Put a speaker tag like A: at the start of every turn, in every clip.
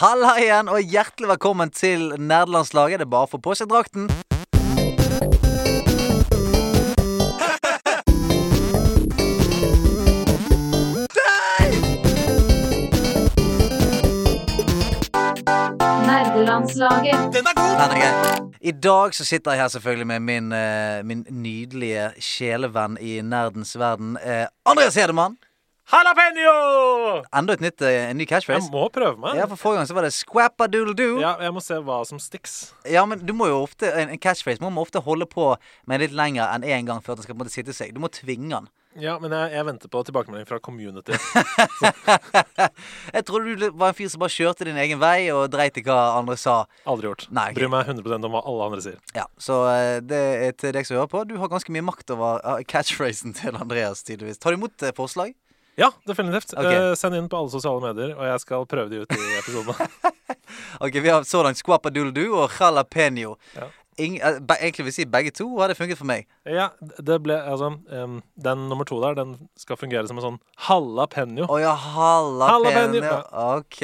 A: Halla igjen, og hjertelig velkommen til nerdelandslaget. Det er bare å få på seg drakten.
B: Nerdelandslaget.
A: Den er grei. I dag så sitter jeg her selvfølgelig med min, eh, min nydelige sjelevenn i nerdens verden, eh, Andreas Hedemann.
C: Jalapeño!
A: Enda et nytt, eh, en ny
C: Jeg
A: catchphrase.
C: må prøve meg.
A: Ja, for Forrige gang så var det squappadoodledoo. Ja.
C: Ja, jeg må se hva som sticks.
A: ja, men du må jo ofte en en catchphrase må man ofte holde på med litt lenger enn én gang før den skal på en måte sitte seg. Du må tvinge den.
C: Ja, men jeg, jeg venter på tilbakemelding fra community.
A: Jeg trodde du var en fyr som bare kjørte din egen vei og dreit i hva andre sa.
C: Aldri gjort.
A: Nei, ok.
C: Bryr meg 100 om hva alle andre sier.
A: Ja, Så eh, det er til deg som hører på. Du har ganske mye makt over eh, catchphrasen til Andreas, tydeligvis. Tar du imot eh, forslag?
C: Ja, definitivt.
A: Ok.
C: Eh, send inn på alle sosiale medier, og jeg skal prøve de ut i episodene.
A: Ok, Vi har så langt squapadoodledoo og jalapeño.
C: Ja.
A: Ing- eh, be- egentlig vil jeg si begge to hadde funket for meg.
C: ja, det ble Altså, em, den nummer to der, den skal fungere som en sånn jalapeño.
A: Å ja, jalapeño.
C: Jalapeño, ja.
A: Ok.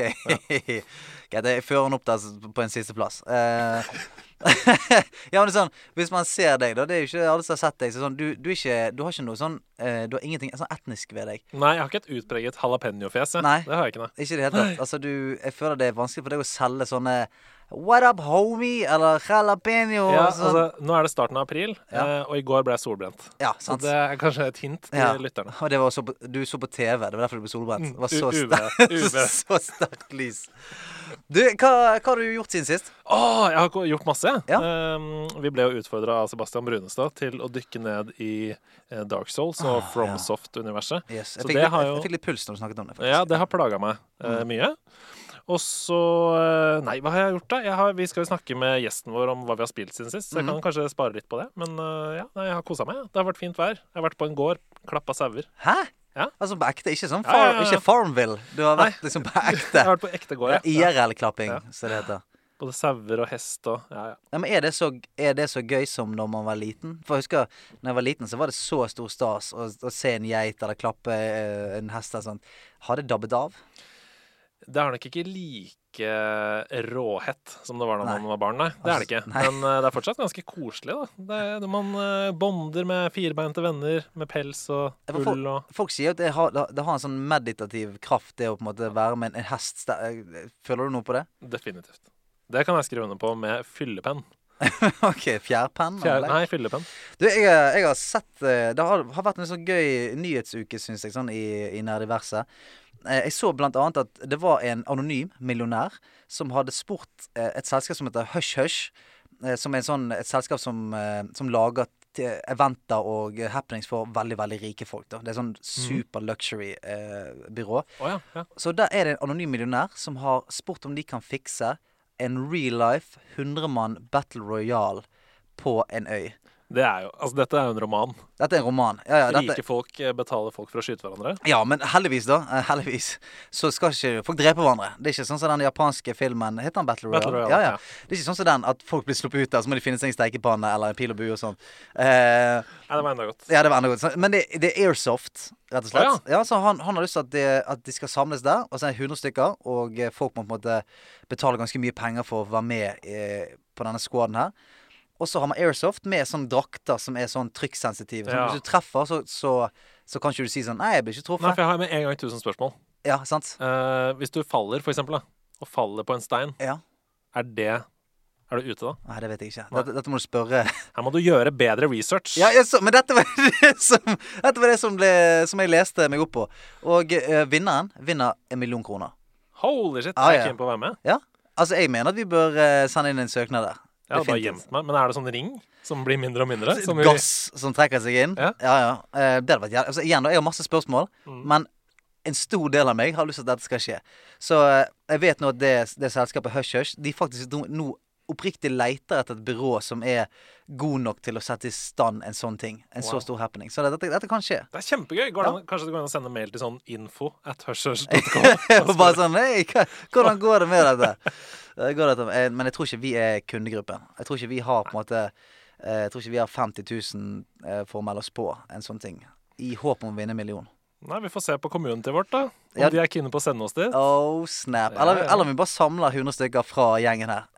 A: Greit, jeg fører den opp der s- på en sisteplass. Uh, ja, men det er sånn, Hvis man ser deg, da Det er jo ikke alle som har sett deg. Så sånn, du, du, er ikke, du har ikke noe sånn eh, Du har ingenting sånn etnisk ved deg.
C: Nei, jeg har ikke et utpreget jalapeño-fjes. jeg.
A: Nei.
C: Det har jeg ikke, nei.
A: Ikke i det hele tatt. Altså, du, jeg føler det er vanskelig for deg å selge sånne What up, homie? Eller jalapeño?
C: Ja,
A: og sånn.
C: altså, nå er det starten av april,
A: Ja.
C: eh, og i går ble jeg solbrent.
A: ja
C: Så
A: sant.
C: det er kanskje et hint til
A: Ja.
C: lytterne. Mm,
A: Og det var så på, du så på TV, det var derfor du ble solbrent. Det var
C: U-
A: så,
C: UV,
A: sterkt-
C: UV.
A: så sterkt lys. Du, hva, hva har du gjort siden sist?
C: Åh, jeg har ikke gjort masse. jeg.
A: Ja.
C: Ehm, vi ble jo utfordra av Sebastian Brunestad til å dykke ned i eh, Dark Souls
A: Ah,
C: og FromSoft-universet.
A: Yes, jeg,
C: Så
A: fikk
C: det
A: litt,
C: har
A: jeg
C: jo
A: fikk litt puls når du snakket om det. faktisk.
C: ja, det har plaga meg
A: Mm.
C: eh, mye. Og så eh, Nei, hva har jeg gjort, da? Jeg har, vi skal jo snakke med gjesten vår om hva vi har spilt siden sist. Så jeg
A: Mm.
C: kan kanskje spare litt på det. Men eh, ja, nei, jeg har kosa meg. ja. Det har vært fint vær. Jeg har vært på en gård, klappa sauer.
A: Hæ?
C: Ja.
A: Altså på ekte? Ikke sånn
C: Ja,
A: far,
C: ja, ja.
A: Ikke Farmville. Du har vært
C: Nei.
A: liksom på
C: Jeg har
A: ekte.
C: vært på ekte gård, ja.
A: IRL-klapping,
C: Ja.
A: som det heter.
C: Både sauer og hest og Ja, ja.
A: Nei, men er det, så, er det så gøy som når man var liten? For jeg husker, når jeg var liten, så var det så stor stas å, å se en geit eller klappe eh, en hest eller sånt. Har det dabbet av?
C: Det er nok ikke like råhett som det var da man
A: Nei.
C: var barn, nei. Det er det ikke.
A: Nei.
C: Men eh, det er fortsatt ganske koselig, da. Det er, man eh, bonder med firbeinte venner med pels og
A: Ja, for
C: ull og
A: Folk sier jo at det har, det har en sånn meditativ kraft, det å på en måte være med en, en hest. Det er- Føler du noe på det?
C: Definitivt. Det kan jeg skrive under på med fyllepenn.
A: OK, fjærpenn?
C: Fjær,
A: eller?
C: nei, fyllepenn.
A: Du, jeg, jeg har sett eh, Det har, har vært en sånn gøy nyhetsuke, syns jeg, sånn i, i Nerdiverset. Eh, Jeg så blant annet at det var en anonym millionær som hadde spurt eh, et selskap som heter Hush Hush, eh, som er en sånn, et selskap som, eh, som lager t- eventer og eh, happenings for veldig, veldig rike folk. Da. Det er sånn super luxury-byrå.
C: Å ja. ja.
A: Så der er det en anonym millionær som har spurt om de kan fikse en real life 100 mann battle royal på en øy.
C: Det er jo, altså, dette er jo en roman.
A: Dette er en roman. Ja, ja, dette,
C: Rike folk eh, betaler folk for å skyte hverandre.
A: ja, men heldigvis, da. eh, Heldigvis. Så skal ikke folk drepe hverandre. Det er ikke sånn som den japanske filmen Heter den Battle Royale?
C: Battle Royale,
A: ja, ja.
C: ja.
A: Det er ikke sånn som den at folk blir sluppet ut der, så må de finne seg en stekepanne eller en pil og bue og sånn. Eh,
C: Nei, det var enda godt.
A: ja, det var enda godt. Så- Men det, det er airsoft, rett og slett.
C: Å,
A: ja. så han, han har lyst til at, det, at de skal samles der, og så er det 100 stykker, og eh, folk må på en måte betale ganske mye penger for å være med eh, på denne squaden her. Og så har man airsoft med sånne drakter som er sånn trykksensitive. Så
C: Ja.
A: Hvis du treffer, så, så, så kan ikke du si sånn Nei, jeg blir ikke
C: Nei,
A: truffet.
C: for jeg har med en gang 1000 spørsmål.
A: Ja, sant?
C: Eh, hvis du faller, for eksempel, da, og faller på en stein,
A: Ja.
C: er det Er du ute da?
A: Nei, det vet jeg ikke.
C: Nei.
A: Dette, dette må du spørre
C: Her må du gjøre bedre research.
A: Ja, jeg så, Men dette var det som, dette var det som, ble, som jeg leste meg opp på. Og eh, vinneren vinner en million kroner.
C: Holy shit,
A: Ah,
C: jeg
A: ja.
C: er keen på å være med.
A: Ja? Altså, jeg mener at vi bør eh, sende inn en søknad der.
C: Jeg hadde bare
A: Definitivt.
C: gjemt meg. Men er det sånn ring som blir mindre og mindre? Som vi-
A: Gass som trekker seg inn. Ja,
C: Ja. Mm.
A: ja. Eh, det hadde vært jævlig. Altså, igjen, da, jeg har masse spørsmål, men en stor del av meg har lyst til at dette skal skje. Så eh, jeg vet nå at det, det selskapet Hush Hush De faktisk nå- nå oppriktig leter etter et byrå som er god nok til å sette i stand en sånn ting. En
C: Wow.
A: så stor happening. Så dette, dette kan skje.
C: Det er kjempegøy. Går det an, kanskje det går an å sende mail til sånn info at hushhush.com.
A: Og bare sånn Hei, hva- hvordan går det med dette? Eh, Går det etter, eh, men jeg tror ikke vi er kundegruppen. Jeg tror ikke vi har på en måte eh, Jeg tror ikke vi har 50 000 eh, for å melde oss på en sånn ting. I håp om å vinne en million.
C: Nei, vi får se på community vårt, da. Om
A: Ja.
C: de er keen på å sende oss dit.
A: Oh snap.
C: Ja,
A: Eller,
C: ja.
A: eller om vi bare samler 100 stykker fra gjengen her.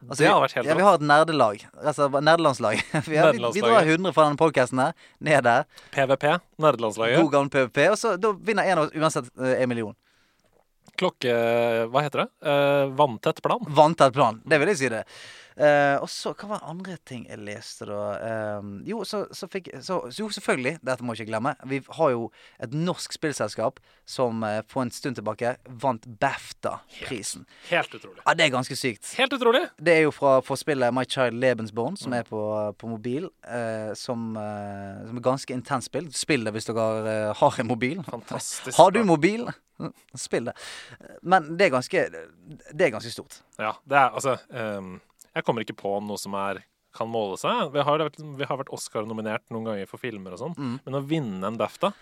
A: Altså,
C: Det hadde
A: vi-
C: vært helt
A: ja, Vi
C: rått.
A: har et nerdelag. Altså bare nerdelandslag. vi, har- vi, vi drar
C: Nerdelandslaget.
A: 100 fra denne podkasten her, ned der.
C: PVP, nerdelandslaget.
A: God gammel PVP. Og så da vinner en av oss uansett eh, en million.
C: Klokke... Hva heter det? Eh, vanntett plan.
A: Vanntett plan. Det vil jeg si det. Eh, og så, hva var andre ting jeg leste, da? Eh, jo, så, så fikk så, så Jo, selvfølgelig. Dette må jeg ikke glemme. Vi har jo et norsk spillselskap som eh, for en stund tilbake vant BAFTA-prisen.
C: Helt utrolig.
A: Ja, det er ganske sykt.
C: Helt utrolig!
A: Det er jo fra for spillet My Child Lebensborn, som er på, på mobil. Eh, som, eh, som er ganske intenst spill. Spill det hvis dere eh, har en mobil.
C: Fantastisk.
A: Har du mobil? Spill det. Men det er ganske, det er ganske stort.
C: Ja, det er altså ehm, Jeg kommer ikke på noe som er kan måle seg. Vi har, vi har vært Oscar-nominert noen ganger for filmer og sånn,
A: Mm.
C: men å vinne en BAFTA,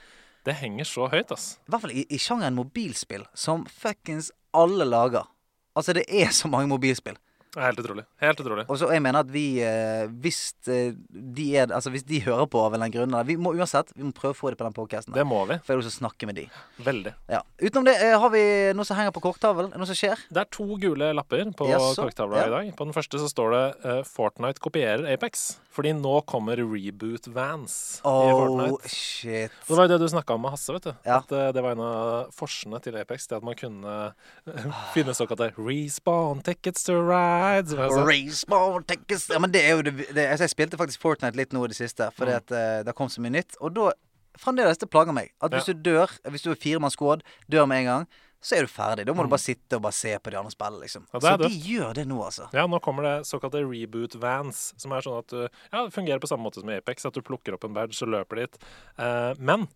C: det henger så høyt, ass.
A: I hvert fall i, i sjangeren mobilspill, som fuckings alle lager. Altså, det er så mange mobilspill.
C: Det er helt utrolig. Helt utrolig.
A: Og så jeg mener at vi eh, Hvis eh, de er Altså, hvis de hører på av en eller annen grunn eller- Vi må uansett Vi må prøve å få det på den podcasten
C: Det må vi.
A: For jeg vil også snakke med de.
C: Veldig.
A: Ja. Utenom det, eh, har vi noe som henger på korktavlen? Noe som skjer?
C: Det er to gule lapper på
A: Jaså,
C: korktavla
A: ja.
C: i dag. På den første så står det eh, 'Fortnite kopierer Apex', fordi nå kommer reboot vans i
A: Oh,
C: Fortnite.
A: shit.
C: Det var jo det du snakka om med Hasse. vet du
A: Ja.
C: At eh, Det var en av forsene til Apex. Det at man kunne eh, finne såkalte respawn tickets to rides. sånn,
A: Race, ball, take us- Ja, men det er jo det, det altså, Jeg spilte faktisk Fortnite litt nå i det siste,
C: Mm.
A: fordi at eh, det kom så mye nytt. Og da Fremdeles, det plager meg. At hvis
C: Ja.
A: du dør, hvis du er firemannsquad, dør med en gang, så er du ferdig. Da må du bare sitte og bare se på de andre spillene, liksom.
C: Mm. Ja, det
A: så
C: er
A: de gjør det nå, altså.
C: Ja, nå kommer det såkalte reboot vans, som er sånn at du ja, det fungerer på samme måte som i Apex, at du plukker opp en badge og løper dit. Eh, men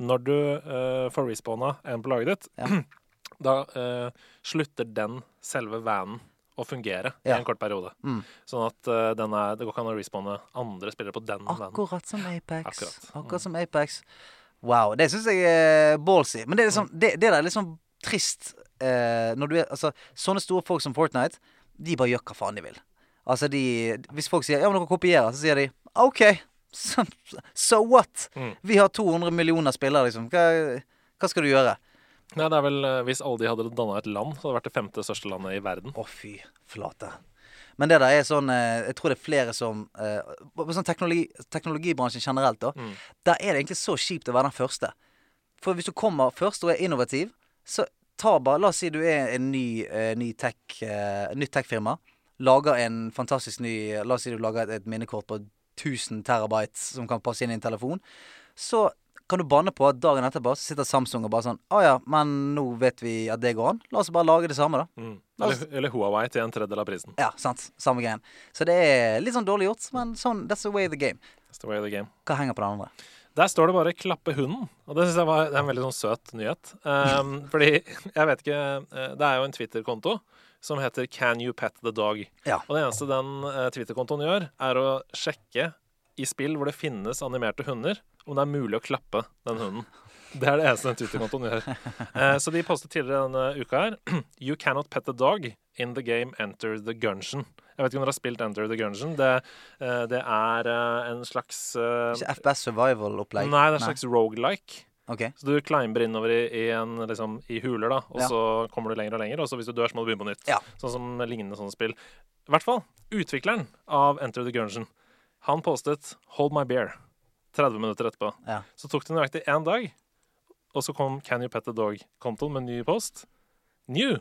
C: når du eh, får respawna en på laget ditt, da eh, slutter den selve vanen å fungere i
A: Ja.
C: en kort periode.
A: Mm.
C: Sånn at eh, den er, det går ikke an å respawne andre spillere på den vanen.
A: Akkurat som Apex. Akkurat,
C: Akkurat. Mm.
A: som Apex. Wow. Det syns jeg er ballsy. Men det, er
C: Mm.
A: liksom, det, det der er litt sånn trist eh, når du er Altså, sånne store folk som Fortnite, de bare gjør hva faen de vil. Altså, de Hvis folk sier 'ja, men dere kopierer', så sier de 'OK, so, so what?'
C: Mm.
A: Vi har 200 millioner spillere, liksom. Hva, hva skal du gjøre?
C: Nei, det er vel, eh, hvis alle de hadde danna et land, så hadde det vært det femte største landet i verden.
A: Å, fy flate. Men det der er sånn eh, Jeg tror det er flere som eh, på- på sånn teknologi, Teknologibransjen generelt, da. Der er det egentlig så kjipt å være den første. For hvis du kommer først og er innovativ, så tar bare La oss si du er en ny, eh, ny tech, eh, nytt tech-firma. Lager en fantastisk ny La oss si du lager et, et minnekort på 1000 terabyte som kan passe inn i en telefon. Så kan du banne på at dagen etterpå så sitter Samsung og bare sånn Å ja, men nå vet vi at det går an. La oss bare lage det samme, da.
C: Mm.
A: Altså-
C: Eller, eller Huawei til en tredjedel av prisen.
A: Ja, sant. Samme greien. Så det er litt sånn dårlig gjort, men sånn, that's the way of the game.
C: That's the way of the game.
A: Hva henger på det andre?
C: Der står det bare 'klappe hunden', og det synes jeg var, det er en veldig sånn søt nyhet. Ehm, fordi, jeg vet ikke eh, Det er jo en Twitter-konto som heter 'Can you pet the dog'?
A: Ja.
C: Og det eneste den eh, Twitter-kontoen gjør, er å sjekke i spill hvor det finnes animerte hunder, om det er mulig å klappe den hunden. Det er det eneste den Twitter-kontoen gjør. Eh, så de postet tidligere denne uka her 'You cannot pet the dog in the game Enter the Gungeon'. Jeg vet ikke om dere har spilt Enter the Gungeon. Det, eh, det er eh, en slags eh,
A: Ikke FPS Survival-opplegg?
C: Nei, det er en slags roguelike.
A: Ok.
C: Så du climber innover i, i, en, liksom, i huler, da, og
A: Ja.
C: så kommer du lenger og lenger. Og så hvis du dør, så må du begynne på nytt.
A: Ja.
C: Sånn som lignende sånne spill. I hvert fall utvikleren av Enter the Gungeon, han postet 'Hold my beer' 30 minutter etterpå.
A: Ja.
C: Så tok det nøyaktig én dag, og så kom Can you pet the dog-kontoen med en ny post. New!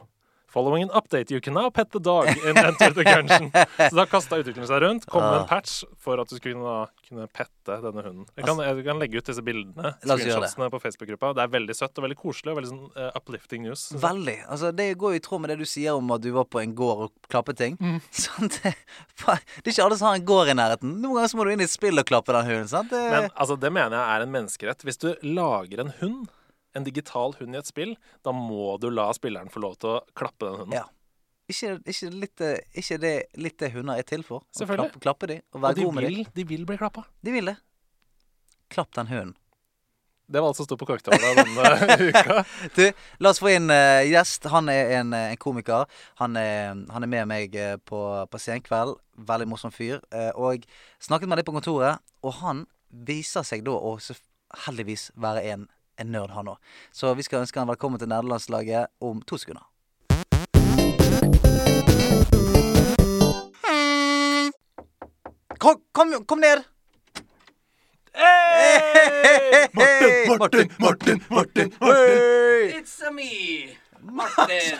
C: Following an update, you can now pet the dog in Enter the Gungeon. Så da kasta utviklingen seg rundt, kom
A: Ah.
C: med en patch for at du skulle kunne, kunne pette denne hunden. Jeg kan, jeg kan legge ut disse bildene
A: Altså La oss gjøre det.
C: screenshotsene på Facebook-gruppa. Det er veldig søtt og veldig koselig og veldig sånn eh, uplifting news.
A: Veldig. Altså, det går jo i tråd med det du sier om at du var på en gård og klappet ting.
C: Mm.
A: Sant? det, faen, det er ikke alle som har en gård i nærheten. Noen ganger så må du inn i et spill og klappe den hunden. Sant? Det,
C: Men altså, det mener jeg er en menneskerett. Hvis du lager en hund, en digital hund i et spill, da må du la spilleren få lov til å klappe den hunden.
A: Ja. ikke, ikke, litt, eh, ikke det litt det hunder er til for. Å
C: Selvfølgelig.
A: Klappe, klappe de og
C: Og
A: være
C: de
A: god med
C: vil,
A: de.
C: de vil bli klappa.
A: De vil det. Klapp den hunden.
C: Det var alt som sto på korktavla denne uka.
A: Du, la oss få inn eh, gjest. Han er en, eh, en komiker. Han er, han er med meg eh, på, på Senkveld. Veldig morsom fyr. Eh, og snakket med deg på kontoret, og han viser seg da å så heldigvis være en en nerd, han òg. Så vi skal ønske han velkommen til nerdelandslaget om to sekunder. Kom, kom, kom ned!
C: Hey!
A: Hei!
B: Martin, Martin, Martin!
A: Hei!
D: It's a me, Martin.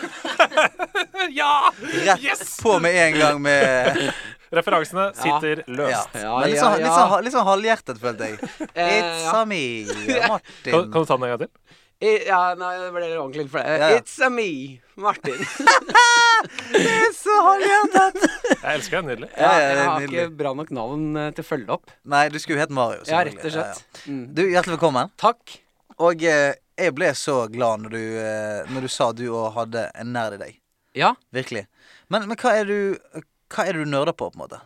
C: Ja!
A: Rett
C: Yes!
A: på med en gang med
C: Referansene sitter
A: ja.
C: løst.
D: Ja,
A: Men litt
D: ja,
A: sånn, litt
D: ja.
A: sånn, litt sånn halvhjertet, følte jeg.
D: Eh,
A: It's
D: ja.
A: a me,
C: Kan,
A: Martin.
C: kan du ta den en gang til?
D: I, ja, nei, det ble ordentlig for det.
A: Ja, ja.
D: It's a me, Martin.
A: It's a halvhjertet.
C: Jeg elsker deg. Nydelig.
A: Ja, ja, det er
D: jeg har
A: nydelig.
D: ikke bra nok navn eh, til å følge opp.
A: Nei, du skulle jo hett Mario.
D: Ja, rett og
A: selvfølgelig. Ja,
D: slett. Mm.
A: ja. Du, hjertelig velkommen.
D: Takk.
A: Og eh, jeg ble så glad når du, eh, når du sa du òg hadde en nerd i deg.
D: Ja.
A: Virkelig. Men, men hva er du Hva er det du nerder på, på en måte?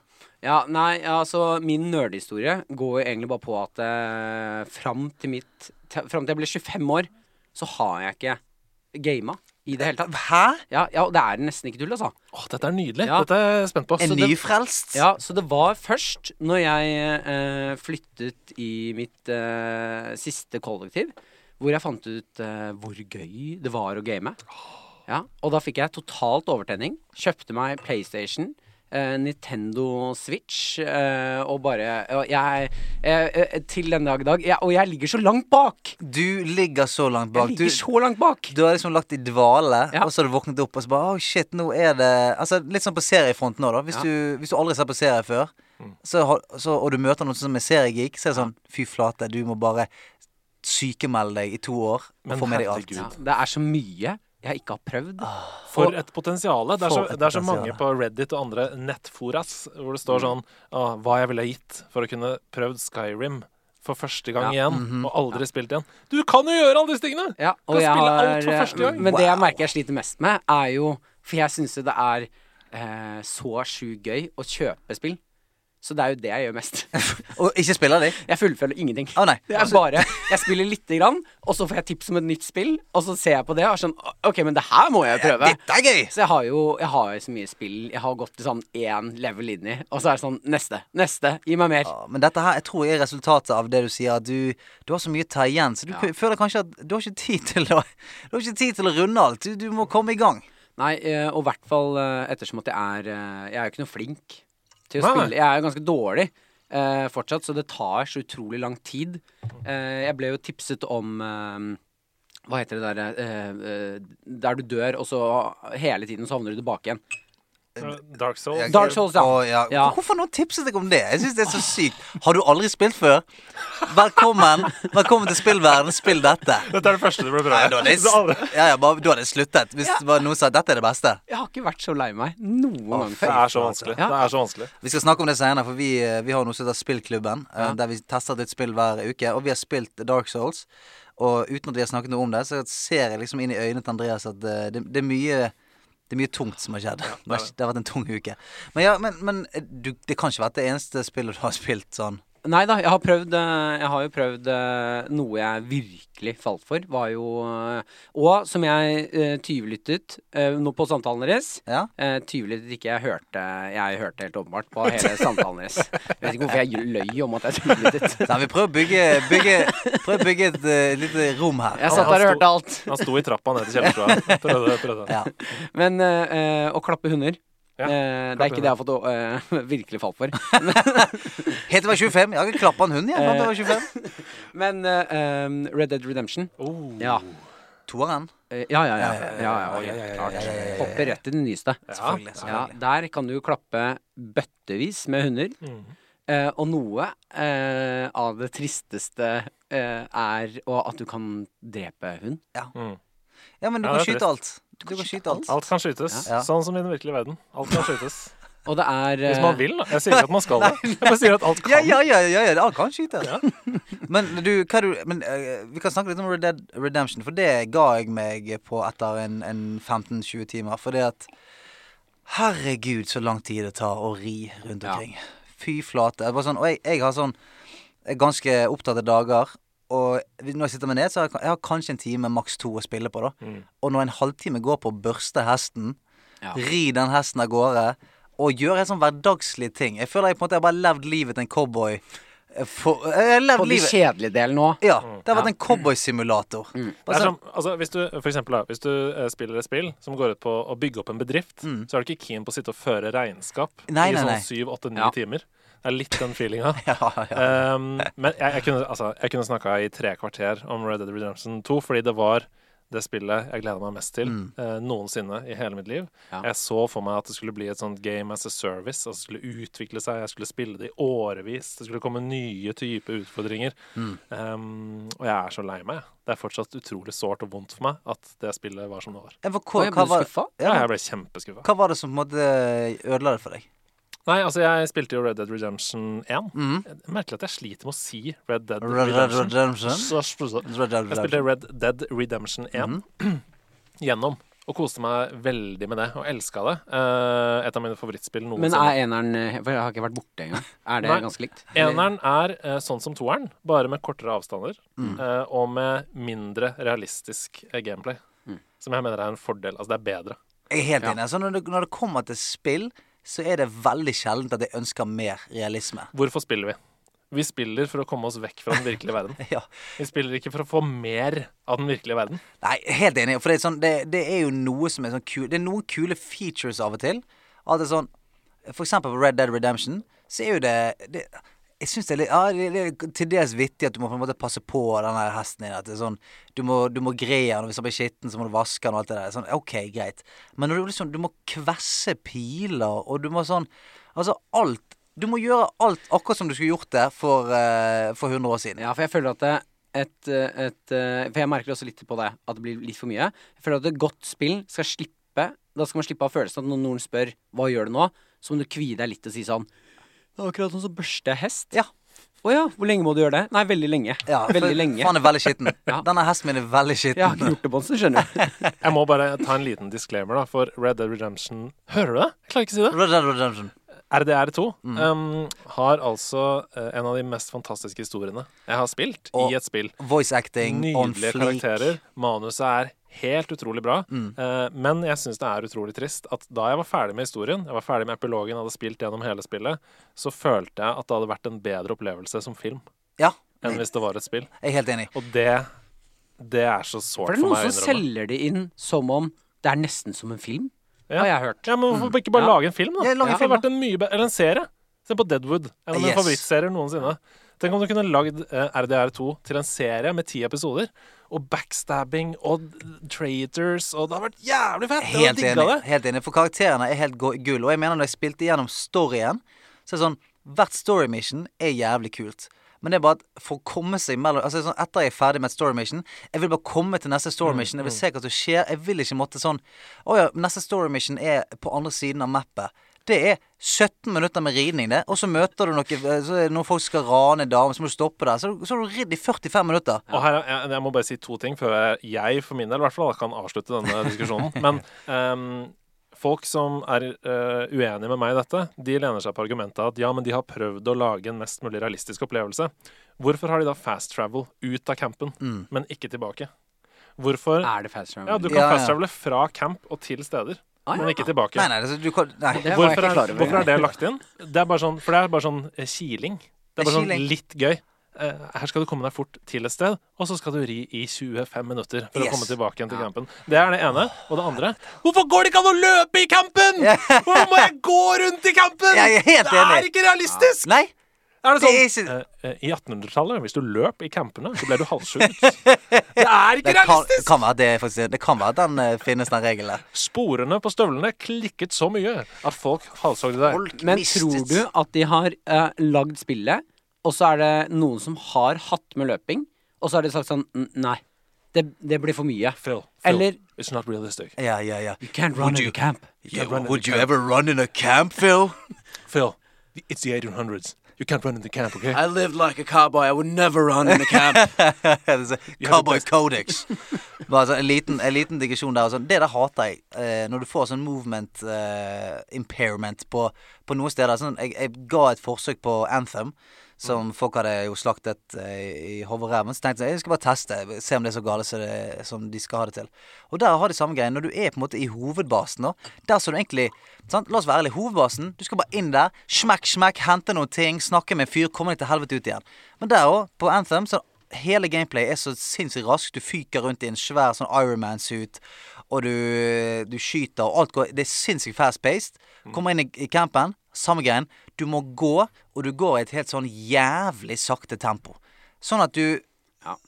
D: Ja, nei, altså min nerdehistorie går jo egentlig bare på at eh, fram til mitt te- Fram til jeg ble 25 år, så har jeg ikke gama i det hele tatt.
A: Hæ?
D: Ja, ja, og det er nesten ikke tull, altså.
C: Åh, dette er nydelig.
D: Ja.
C: Dette er jeg spent på.
A: En
D: det-
A: nyfrelst?
D: Ja, så det var først når jeg eh, flyttet i mitt eh, siste kollektiv, hvor jeg fant ut eh, hvor gøy det var å game. Ja, og da fikk jeg totalt overtenning. Kjøpte meg PlayStation. eh, Nintendo Switch eh, og bare og jeg, eh, eh, Til den dag i dag. Jeg, og jeg ligger så langt bak!
A: Du ligger så langt bak.
D: Jeg
A: Du,
D: ligger så langt bak!
A: du har liksom lagt i dvale,
D: Ja.
A: og så har du våknet opp og så bare Å, shit, nå er det Altså, Litt sånn på seriefronten òg, da. Hvis,
D: Ja.
A: du, hvis du aldri ser på serie før, så, har- så, og du møter noen som er seriegeek, så er det sånn Fy flate, du må bare sykemelde deg i to år
C: Men
A: og få med deg alt.
C: herregud.
D: Ja, det er så mye jeg ikke har prøvd.
A: Ah.
C: For et potensial. Det er, så,
A: For et
C: det er så
A: potensiale.
C: mange på Reddit og andre nettforas hvor det står sånn «Åh, Hva jeg ville gitt for å kunne prøvd Skyrim for første gang
D: Ja.
C: igjen, og aldri spilt igjen. Du kan jo gjøre alle disse tingene!
D: Ja,
C: Du kan
D: og jeg
C: spille
D: har, eh,
C: alt for første gang.
D: Men det jeg
A: Wow.
D: merker jeg sliter mest med, er jo For jeg syns jo det er eh, så sjukt gøy å kjøpe spill. Så det er jo det jeg gjør mest.
A: Og ikke spiller de?
D: Jeg fullfører ingenting.
A: Å, nei.
D: Det er
C: Altså-
D: bare Jeg spiller lite grann, og så får jeg tips om et nytt spill, og så ser jeg på det og er sånn OK, men det her må jeg prøve.
A: Dette er gøy!
D: Så jeg har jo jeg har jo så mye spill. Jeg har gått til sånn én level inn i, og så er det sånn Neste. Neste. Gi meg mer.
A: Ja, men dette her, jeg tror er resultatet av det du sier, at du, du har så mye å ta igjen. Så du k- føler kanskje at du har ikke tid til å, du har ikke tid til å runde alt. Du, du må komme i gang.
D: Nei, eh, og i hvert fall eh, ettersom at jeg er eh, Jeg er jo ikke noe flink til å
C: Nei.
D: spille. Jeg er jo ganske dårlig eh, fortsatt, så det tar så utrolig lang tid. Eh, jeg ble jo tipset om eh, Hva heter det derre Der du dør, og så hele tiden så havner du tilbake igjen.
C: Dark Souls.
A: Jeg-
D: Dark Souls, ja.
A: Å, ja.
D: Ja.
A: Hvorfor noen tipset deg om det? Jeg synes det er så sykt. Har du aldri spilt før? Velkommen Velkommen til spillverden, spill dette.
C: Dette er det første du burde
A: Nei, da
C: prøve.
A: hadde jeg,
C: Så aldri-
A: s- ja, ja, bare, du hadde sluttet hvis det var noen som sa dette er det beste.
D: Jeg har ikke vært så lei meg noen gang
C: Det
D: før.
C: er så vanskelig.
D: Ja.
C: Det er så vanskelig.
A: Vi skal snakke om det senere, for vi, eh, vi har noe som heter Spillklubben. eh, Der vi tester et nytt spill hver uke. Og vi har spilt Dark Souls. Og uten at vi har snakket noe om det, så ser jeg liksom inn i øynene til Andreas at eh, det, det er mye det er mye tungt som har skjedd. det, har, det har vært en tung uke. Men, ja, men, men eh, du, det kan ikke vært det eneste spillet du har spilt sånn.
D: Nei da, jeg har prøvd eh, Jeg har jo prøvd eh, noe jeg virkelig falt for, var jo eh, Og som jeg eh, tyvlyttet eh, nå på samtalen deres.
A: Ja?
D: Eh, tydeligvis ikke jeg hørte Jeg hørte helt åpenbart på hele samtalen deres. Jeg vet ikke hvorfor jeg løy om at jeg tydeligvis
A: Nei, vi prøver å bygge, bygge, prøver å bygge et eh, lite rom her.
D: Jeg satt der og hørte alt.
C: Han sto i trappa ned til kjellerstua. Prøvde, prøvde.
A: Ja.
D: Men eh, eh, å klappe hunder
C: Ja,
D: eh, Det
C: klappe
D: er ikke det jeg har fått eh, virkelig falt for.
A: Helt til jeg var 25. Jeg har ikke klappa en hund igjen. Jeg var 25.
D: Men eh, eh, Red Dead Redemption
C: Oh.
D: Ja.
A: Toeren.
D: Eh, Ja, ja, ja. ja,
A: Ja,
D: ja,
C: ja, ja,
D: ja,
C: ja, ja,
D: klart.
A: ja, ja, ja, ja.
D: Hopper rett til den nyeste.
A: Selvfølgelig.
D: Ja,
A: selvfølgelig.
D: der kan du klappe bøttevis med hunder.
C: Mm.
D: Eh, og noe eh, av det tristeste eh, er og at du kan drepe hund.
C: Mm.
A: Ja, men du
C: Ja,
A: kan
C: det er
A: skyte alt. Du kan skyte alt.
C: Alt kan skytes.
A: Ja.
C: Sånn som i den virkelige verden. Alt kan skytes.
D: Og det er
C: Hvis
D: eh,
C: man vil, da. Jeg sier ikke at man skal det. Jeg bare sier at alt
A: Ja,
C: kan.
A: ja, ja, ja, ja, alt kan skytes. men du, hva du men, eh, Vi kan snakke litt om Red Dead Redemption, for det ga jeg meg på etter en, en 15-20 timer. For det at Herregud, så lang tid det tar å ri rundt
D: Ja.
A: omkring. Fy flate. Det var sånn, og jeg, jeg har sånn jeg er ganske opptatte dager. Og når jeg sitter meg ned, så har jeg, jeg har kanskje en time, maks to, å spille på. da Og når en halvtime går på å børste hesten,
D: Ja.
A: ri den hesten av gårde, og gjøre en sånn hverdagslig ting Jeg føler jeg på en måte har bare levd livet til en cowboy For, jeg har levd
D: På den
A: livet.
D: kjedelige delen nå.
A: Ja.
C: Mm.
A: Det har vært en cowboysimulator. sånn-
C: Det er som, altså, hvis du, for eksempel, da, hvis du eh, spiller et spill som går ut på å bygge opp en bedrift, så er du ikke keen på å sitte og føre regnskap
A: Mm. Nei,
C: i
A: nei, nei.
C: sånn syv, åtte, ni
D: Ja.
C: timer. Det er litt den feelinga.
A: Ja, ja.
C: Um, men jeg, jeg kunne, altså, jeg kunne snakka i tre kvarter om Red Dead Redemption 2, fordi det var det spillet jeg gleda meg mest til eh, noensinne i hele mitt liv.
D: Ja.
C: Jeg så for meg at det skulle bli et sånt game as a service. Altså det skulle utvikle seg, jeg skulle spille det i årevis. Det skulle komme nye typer utfordringer. Um, og jeg er så lei meg. Det er fortsatt utrolig sårt og vondt for meg at det spillet var som det var.
A: Jeg var,
D: Og
A: hva,
D: jeg
A: hva,
D: ble
A: var,
D: skuffa.
C: Ja,
A: ja,
C: jeg ble kjempeskuffa.
A: hva var det som på en måte eh, ødela det for deg?
C: Nei, altså, jeg spilte jo Red Dead Redemption 1. Jeg merker at jeg sliter med å si Mm. Red Dead
A: Red Dead
C: Redemption.
A: Redemption?
C: Så- så- så-
A: Red Dead
C: Jeg
A: Redemption.
C: spilte Red Dead Redemption 1 gjennom, og koste meg veldig med det, og elska det. Eh, et av mine favorittspill
D: Men
C: noensinne.
D: er eneren eh, For jeg har ikke vært borte engang. Er det
C: Nei.
D: ganske likt?
C: Eneren er eh, sånn som toeren, bare med kortere avstander, eh, og med mindre realistisk eh, gameplay. Som jeg mener er en fordel. Altså, det er bedre.
A: Jeg er helt enig. Så når, det, når det kommer til spill, så er det veldig sjeldent at jeg ønsker mer realisme.
C: Hvorfor spiller vi? Vi spiller for å komme oss vekk fra den virkelige verden.
A: Ja.
C: Vi spiller ikke for å få mer av den virkelige verden.
A: Nei, helt enig. For det er, sånn, det, det er jo noe som er sånn kul, Det er noen kule features av og til. At det er sånn For eksempel på Red Dead Redemption, så er jo det, det jeg synes det er litt ja, det, det er til dels vittig at du må på en måte passe på den her hesten din. At det er sånn Du må, du må greie den, og hvis han blir skitten, så må du vaske den og alt det der. Sånn, OK, greit. Men når du liksom Du må kvesse piler, og du må sånn Altså alt Du må gjøre alt akkurat som du skulle gjort det for, eh, for 100 år siden.
D: Ja, for jeg føler at det et, eh, et, eh, For jeg merker også litt på det, at det blir litt for mye. Jeg føler at et godt spill skal slippe Da skal man slippe å ha følelsen at når noen spør hva gjør du nå, så må du kvie deg litt og si sånn Det er akkurat sånn som børste hest.
A: Ja.
D: Å ja, hvor lenge må du gjøre det? Nei, veldig lenge.
A: Ja, for
D: veldig lenge.
A: Han er veldig skitten.
D: Ja.
A: Denne hesten min er veldig skitten.
D: Jeg har ikke gjort det på en stund, skjønner du.
C: Jeg må bare ta en liten disclaimer, da, for Red Dead Redemption Hører du det? Jeg klarer ikke å si det.
A: Red Dead Redemption.
C: RDR2
D: Mm.
C: um, har altså eh, en av de mest fantastiske historiene jeg har spilt
A: Og
C: i et spill.
A: Voice acting on
C: Nydelige
A: fleek.
C: karakterer. Manuset er helt utrolig bra.
D: Mm.
C: Eh, men jeg syns det er utrolig trist at da jeg var ferdig med historien, jeg var ferdig med epilogen, hadde spilt gjennom hele spillet, så følte jeg at det hadde vært en bedre opplevelse som film
A: Ja,
D: Mm.
C: enn hvis det var et spill.
A: jeg er helt enig.
C: Og det det er så
D: For
C: sårt
D: det er
C: for meg
D: noen
C: å
D: som
C: innrømme.
D: selger det inn som om det er nesten som en film,
C: Ja.
D: har jeg hørt. Mm.
C: Ja, men hvorfor ikke bare
D: Ja.
C: lage en film, da?
A: Ja,
C: Det
A: lag en
C: hadde
A: film,
C: vært en mye be Eller en serie. Se på Deadwood. En av mine
A: Yes.
C: favorittserier noensinne. Tenk om du kunne lagd eh, RDR2 til en serie med ti episoder. Og backstabbing og traitors og Det hadde vært jævlig fett! Jeg
A: Helt
C: hadde digga
A: enig.
C: det.
A: helt enig. For karakterene er helt gå- gull. Og jeg mener når jeg spilte gjennom storyen, så er det sånn Hvert story mission er jævlig kult. Men det er bare at for å komme seg mellom Altså sånn, Etter jeg er ferdig med et story mission, jeg vil bare komme til neste story mission. Jeg vil se hva som skjer. Jeg vil ikke måtte sånn Å ja, neste story mission er på andre siden av mappet. Det er 17 minutter med ridning, det. Og så møter du noe eh, så er det Noen folk skal rane en dame, så må du stoppe der. Så, så har du ridd i 45 minutter.
C: Og her, er- jeg, jeg må bare si to ting før jeg, jeg for min del i hvert fall, kan avslutte denne diskusjonen. Men ehm, folk som er eh, uenige med meg i dette, de lener seg på argumentet at ja, men de har prøvd å lage en mest mulig realistisk opplevelse. Hvorfor har de da fast travel ut av campen,
A: Mm.
C: men ikke tilbake? Hvorfor
D: Er det fast
C: Ja,
D: travel?
C: du kan
A: Ah, Ja, ja.
C: fast travele fra camp og til steder,
D: Ah, ja.
C: men ikke tilbake.
A: Nei, nei, altså, du kan Nei.
D: Det var jeg
C: Hvorfor
D: ikke
C: er,
D: klar over.
C: hvorfor er det lagt inn? Det er bare sånn, for det er bare sånn eh, kiling. Det
A: Det
C: er
A: er
C: bare sånn
A: kiling.
C: litt gøy. Eh, her skal du komme deg fort til et sted, og så skal du ri i 25 minutter for å
A: Yes.
C: komme tilbake igjen til campen. Det er det ene. Og det andre Hvorfor går det ikke an å løpe i campen?! Hvorfor må jeg gå rundt i campen?!
A: Jeg er helt
C: det er
A: enig.
C: ikke realistisk!
A: Nei.
C: Er det
A: Det
C: sånn
A: er
C: eh, eh, I 1800-tallet, hvis du løp i campene, så ble du halshugget. Det er ikke
A: Det kan,
C: realistisk!
A: kan være at det er faktisk Det kan være at den eh, finnes, den regelen der.
C: Sporene på støvlene klikket så mye at folk halshogde deg.
D: Men tror du at de har eh, lagd spillet, og så er det noen som har hatt med løping, og så har de sagt sånn "N- Nei, det, det blir for mye.
C: Phil, Phil,
D: Eller
C: it's not realistic.
A: Ja, ja, ja.
D: You can't run
A: Would
D: in
A: you-
D: a camp.
A: You- would you ever run in a camp, Phil?
C: Phil, the- it's the 1800s. You can't run in the camp, okay?
B: I lived like a cowboy. I would never run in the camp.
A: Altså, Cowboy Codex. Men altså, en, liten, en liten digresjon der. og sånn. det der hater jeg. Eh, når du får sånn movement eh, impairment på, på noen steder. Sånn, jeg, jeg ga et forsøk på Anthem, som folk hadde jo slaktet eh, i hodet og ræven. Så tenkte jeg jeg skal bare teste, se om det er så gale som det- som de skal ha det til. Og der har de samme greien. Når du er på en måte i hovedbasen, nå, der som du egentlig Sant? La oss være ærlig, Hovedbasen, du skal bare inn der, smekk, smekk, hente noen ting, snakke med en fyr, komme deg til helvete ut igjen. Men der òg, på Anthem, så hele gameplayet er så sinnssykt raskt. Du fyker rundt i en svær sånn Ironman-suit, og du, du skyter, og alt går Det er sinnssykt fast-paced. Kommer inn i, i campen, samme greien. Du må gå, og du går i et helt sånn jævlig sakte tempo. Sånn at du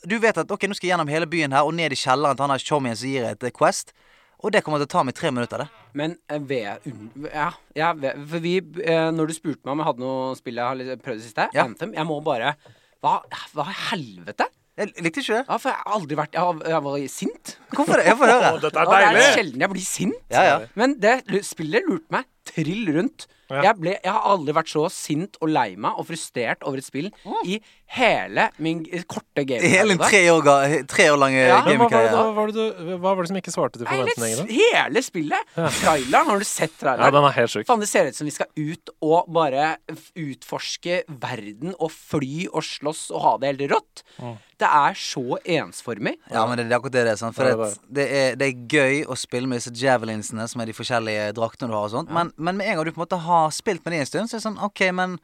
A: Du vet at ok, nå skal jeg gjennom hele byen her, og ned i kjelleren til han der chommien som gir et eh, quest. Og det kommer til å ta meg tre minutter, det.
D: Men eh, ved, un- ja, ja, ved, for vi, eh, når du spurte meg om jeg hadde noe spill jeg har litt- prøvd i det siste,
A: Ja.
D: Anthem, jeg må bare Hva, hva i helvete?
A: Jeg likte ikke det.
D: Ja, for jeg har aldri vært Jeg, har- jeg var sint.
A: Hvorfor det? Jeg får
C: Å,
A: høre.
C: dette er
D: Og Det er
C: deilig!
D: sjelden jeg blir sint.
A: Ja, ja.
D: Men det lu- spillet lurte meg trill rundt.
C: Ja.
D: Jeg, ble, jeg har aldri vært så sint og lei meg og frustrert over et spill i hele min g- korte game.
A: Mm. Hele en tre år, ga- tre år eh, lange
D: Ja,
C: Men hva var, det,
A: gamingkarriere.
C: hva, var det, du- hva var det som ikke svarte til
D: Hele,
C: forventningene?
D: hele spillet! Traileren, har du sett
C: Ja,
D: traileren?
C: den er helt sjuk.
D: Faen, det ser ut som vi skal ut og bare f- utforske verden og fly og slåss og ha det helt rått.
C: Mm.
D: Det er så ensformig.
A: Ja, men det det er akkurat det det er. Sant? For
C: Ja, det
A: det,
C: er
A: det, er, det er gøy å spille med disse javelinsene, som er de forskjellige draktene du har og sånt. Men, men med en gang du på en måte har spilt med de en stund, så er det sånn OK, men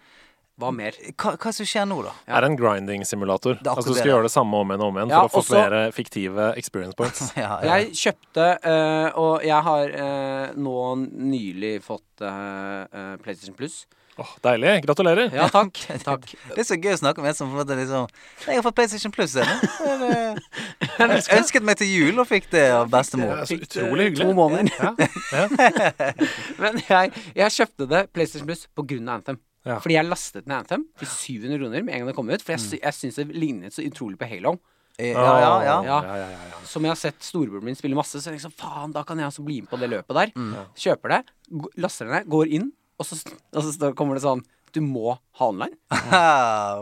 D: Hva mer?
A: hva, hva som skjer nå, da?
C: Er en grinding-simulator.
A: er akkurat
C: Altså, du
A: det.
C: skal gjøre det samme om igjen og om igjen
D: Ja,
C: for å få
D: også-
C: flere fiktive experience points.
A: Ja, ja.
D: Jeg kjøpte, eh, og jeg har eh, nå nylig fått eh, eh, PlayStation Plus.
C: Åh, deilig. Gratulerer.
D: Ja, takk. takk.
A: Det er så gøy å snakke om en som på en måte liksom Jeg har fått PlayStation Plus jeg, nå. Så er det- eh, Jeg ønsket meg til jul og fikk det av
C: Det
A: bestemor.
C: er så Altså, utrolig
D: To
C: hyggelig.
D: måneder.
C: Ja, ja.
D: Men jeg, jeg kjøpte det PlayStation Plus på grunn av Anthem.
C: Ja.
D: Fordi jeg lastet ned Anthem til 700 kroner med en gang det kom ut. For jeg,
C: Mm.
D: sy jeg syns det lignet så utrolig på Halo.
A: Ja, ja, ja.
D: Ja.
C: ja, ja, ja.
D: Som jeg har sett storebroren min spille masse, så jeg liksom faen, da kan jeg også bli med på det løpet der.
C: Mm.
D: Kjøper det, g- laster det ned, går inn, og så, og så står- kommer det sånn Du må ha online.
A: Ha,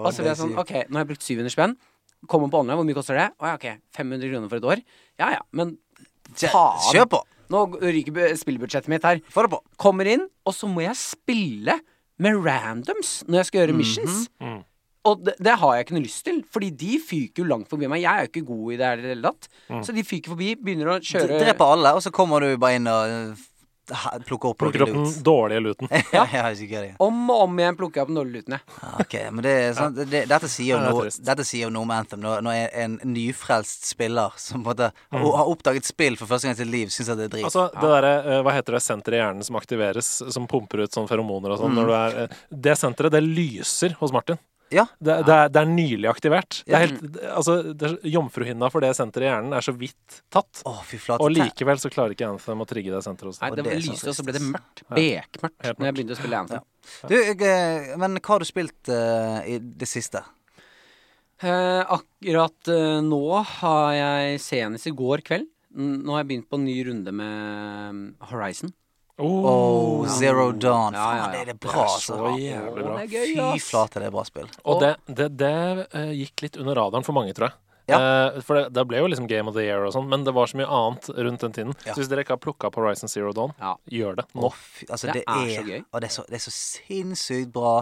D: Og så blir jeg sånn OK, nå har jeg brukt 700 spenn. Kommer på online, hvor mye koster det? Å ja, OK, 500 kroner for et år. Ja ja, men
A: Ja,
D: faen.
A: Kjør på!
D: Nå ryker bu- spillbudsjettet mitt her.
A: Få det på.
D: Kommer inn, og så må jeg spille med randoms når jeg skal
A: Mhm.
D: gjøre missions.
C: Mm.
D: Og det, det har jeg ikke noe lyst til, Fordi de fyker jo langt forbi meg. Jeg er jo ikke god i det hele tatt. Så de fyker forbi, begynner å
A: D-
D: kjøre
A: Dreper alle, og så kommer du bare inn og eh, ha- plukker opp
C: Plukker opp den dårlige luten.
A: Ja, ja, ikke gøy.
D: Om og om igjen plukker jeg opp nålelutene.
A: Ok, men det, er sant, det, dette, sier jo
C: Ja, det er
A: noe,
C: trist.
A: dette sier jo noe om Anthem. Når, når en, en nyfrelst spiller som på en måte har- har oppdaget spill for første gang i sitt liv, syns at det er drit.
C: Mm. Altså, det derre eh, Hva heter det senteret i hjernen som aktiveres, som pumper ut sånne feromoner
A: Mm.
C: og sånn når du er eh, Det senteret, det lyser hos Martin.
A: ja,
C: Det, det, er, det er nylig aktivert. Det er helt, det, altså, det, er- Jomfruhinna for det senteret i hjernen er så vidt tatt.
A: å fy flate.
C: Og likevel så klarer ikke Anthem å trigge det senteret hos
D: Nei,
C: deg.
D: det
A: det er så
D: lyste, og så ble det
A: trist.
D: mørkt. Bekmørkt
C: Helt
D: når jeg begynte å spille Anthem.
A: Du, jeg, eh, men hva har du spilt eh, i det siste?
D: Eh, akkurat eh, nå har jeg senest i går kveld n- Nå har jeg begynt på en ny runde med mm, Horizon.
A: Oh,
D: Ja.
A: Zero Dawn.
D: Ja, ja, ja.
A: Faen, det er det
C: Det
A: bra,
C: er så
A: altså.
C: jævlig
D: Å,
C: bra.
D: det er gøy,
A: Fy
D: ass.
A: flate, det er bra spill.
C: Og det, det, det eh, gikk litt under radaren for mange, tror jeg. Eh, for det, det ble jo liksom Game of the Year og sånn, men det var så mye annet rundt den tiden.
A: Ja.
C: Så hvis dere ikke har plukka opp Horizon Zero Dawn,
D: Ja.
C: gjør det
A: Å,
C: nå.
A: fy, altså,
D: Det
A: det,
D: er
A: er,
D: så gøy.
A: Og det er så, det er så sinnssykt bra.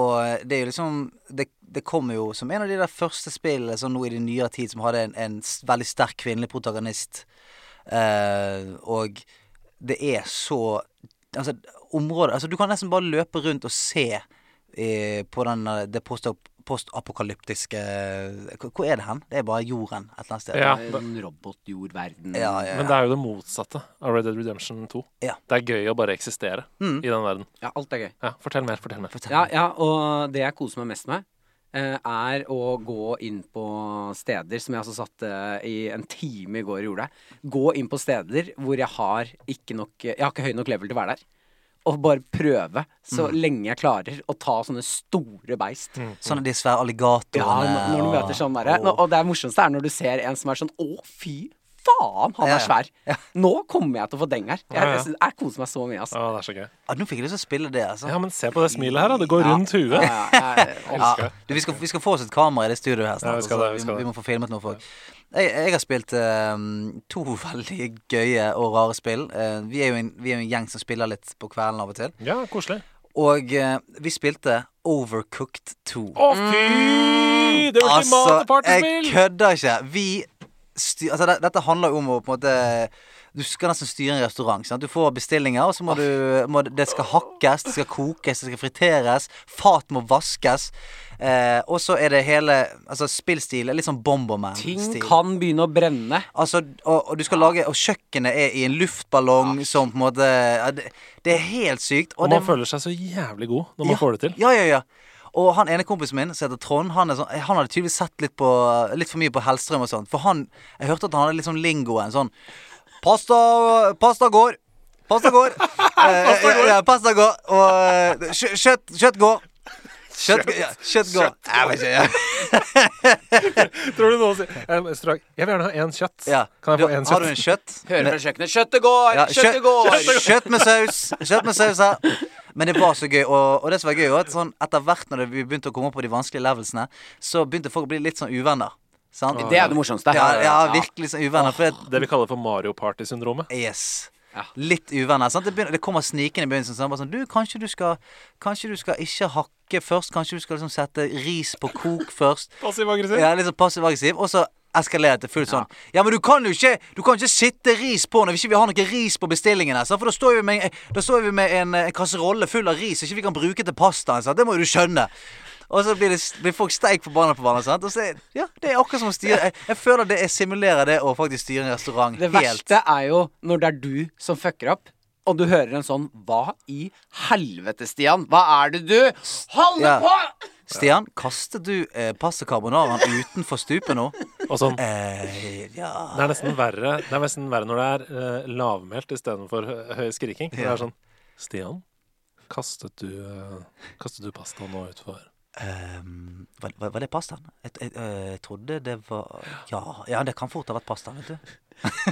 A: Og det er jo liksom Det, det kommer jo som en av de der første spillene sånn nå i den nyere tid som hadde en, en s- veldig sterk kvinnelig protagonist. Eh, og det er så Altså, området Altså, du kan nesten bare løpe rundt og se eh, på den, eh, det postap- postapokalyptiske eh, Hvor hvor er det hen? Det er bare jorden et eller annet sted.
C: Ja,
D: Det er
C: det,
D: En robotjordverden.
A: ja, ja,
C: men
A: ja.
C: det er jo det motsatte av Red Dead Redemption 2.
A: Ja.
C: Det er gøy å bare eksistere
D: Mm.
C: i den verden.
D: ja, alt er gøy.
C: Ja, fortell mer, fortell mer.
A: Fortell.
D: Ja, ja, og det jeg koser meg mest med, eh, er å gå inn på steder Som jeg altså satt eh, i en time i går og gjorde. Gå inn på steder hvor jeg har ikke nok Jeg har ikke høy nok level til å være der. Og bare prøve, så lenge jeg klarer, å ta sånne store beist.
A: Sånn de svære
D: Ja,
A: alligatorene.
D: når, når du
A: og-
D: møter sånn derre nå- Og det morsomste er når du ser en som er sånn Å, fy faen, han
A: Ja, ja.
D: er svær. Nå kommer jeg til å få deng her. Jeg,
C: Ja, ja.
D: jeg, synes- jeg koser meg så mye, altså.
C: Å, det er så gøy.
A: Ja, Ah, nå fikk jeg lyst til å spille det, altså.
C: Ja, men se på det smilet her, da. Det går rundt huet.
D: Ja, ja, jeg,
A: Ja,
C: Elsker det.
A: du, vi, skal, vi skal få oss et kamera i det studioet her snart.
C: Ja, vi skal
A: altså.
C: det, vi skal
A: vi,
C: det.
A: må få filmet noe for folk. Jeg, jeg har spilt ehm, to veldig gøye og rare spill. Eh, vi, er jo en, vi er jo en gjeng som spiller litt på kvelden av og til.
C: Ja, koselig.
A: Og eh, vi spilte Overcooked 2.
C: Å, fy! Det ultimate
A: Mm. Altså, jeg
C: partyspill!
A: kødder ikke. Vi styr, altså, det, dette handler jo om å på en måte Du skal nesten styre en restaurant. Sant? Du får bestillinger, og så må du må, Det skal hakkes, det skal kokes, det skal friteres. Fat må vaskes. Eh, og så er det hele altså, spillstil. er Litt sånn
D: Ting
A: Bomberman-stil.
D: kan begynne å brenne.
A: Altså, og, og du skal lage Og kjøkkenet er i en luftballong som på en måte ja, det, det er helt sykt.
C: Og
A: det,
C: man føler seg så jævlig god når man
A: ja,
C: får det til.
A: Ja, ja, ja. Og han ene kompisen min som heter Trond, han, er sånn, han hadde tydeligvis sett litt, på, litt for mye på Hellstrøm og sånn. For han Jeg hørte at han hadde litt sånn lingoen sånn Pasta, pasta går. Pasta går. pasta går. Ja, pasta går. Og eh, kjø- kjøtt, kjøtt går. Kjøtt, ja, kjøtt går. Jeg vet ikke. Ja.
C: Tror du noen sier eh, Strøk, Jeg vil gjerne ha én kjøtt.
A: Ja.
C: Kan jeg
A: Du-
C: få én
A: Har du
C: kjøtt?
A: en kjøtt?
D: Hører fra kjøkkenet. Kjøttet går!
A: Ja,
D: kjøttet går!
A: kjøtt- kjøtt med saus. Kjøtt med saus her. Men det var så gøy. Og, og det som var gøy var at sånn, etter hvert når det- vi begynte å komme opp på de vanskelige levelsene, så begynte folk å bli litt sånn uvenner. Sant?
D: Det er det morsomste.
A: Ja, ja, virkelig sånn uvenner. For det,
C: Det vi kaller for Mario Party-syndromet.
A: yes.
D: Ja.
A: Litt uvenner. Sant? Det, begynner, det kommer snikende i begynnelsen. Sånn, bare sånn, du, kanskje du, skal, kanskje du skal ikke hakke først? Kanskje du skal liksom sette ris på kok først?
C: Passiv-aggressiv.
A: Ja, litt sånn passiv-aggressiv. Og så eskalerer det til fullt sånn. Ja, men du kan jo ikke Du kan ikke sitte ris på når vi ikke har noe ris på bestillingen. her, sant? For da står vi med, da står vi med en, en kasserolle full av ris som ikke vi kan bruke til pastaen. sant? Det må jo du skjønne. Og så blir, det, blir folk steik forbanna på hverandre. sant? Og så, er- ja, Det er akkurat som å styre Jeg, jeg føler det jeg simulerer det å faktisk styre en restaurant
D: Det
A: helt.
D: verste er jo når det er du som fucker opp, og du hører en sånn Hva i helvete, Stian? Hva er det du holder
A: Ja.
D: på
A: Stian, kastet du eh, pasta carbonaraen utenfor stupet nå?
C: Og sånn.
A: Eh, ja
C: Det er nesten verre, det er nesten verre når det er uh, lavmælt istedenfor hø- høy skriking. Det
A: Ja.
C: er sånn Stian, kastet du, eh, kastet du pasta nå utfor?
A: Ehm, var, var, var det pastaen? Jeg, jeg, øh, jeg trodde det var ja, ja, det kan fort ha vært pastaen, vet du.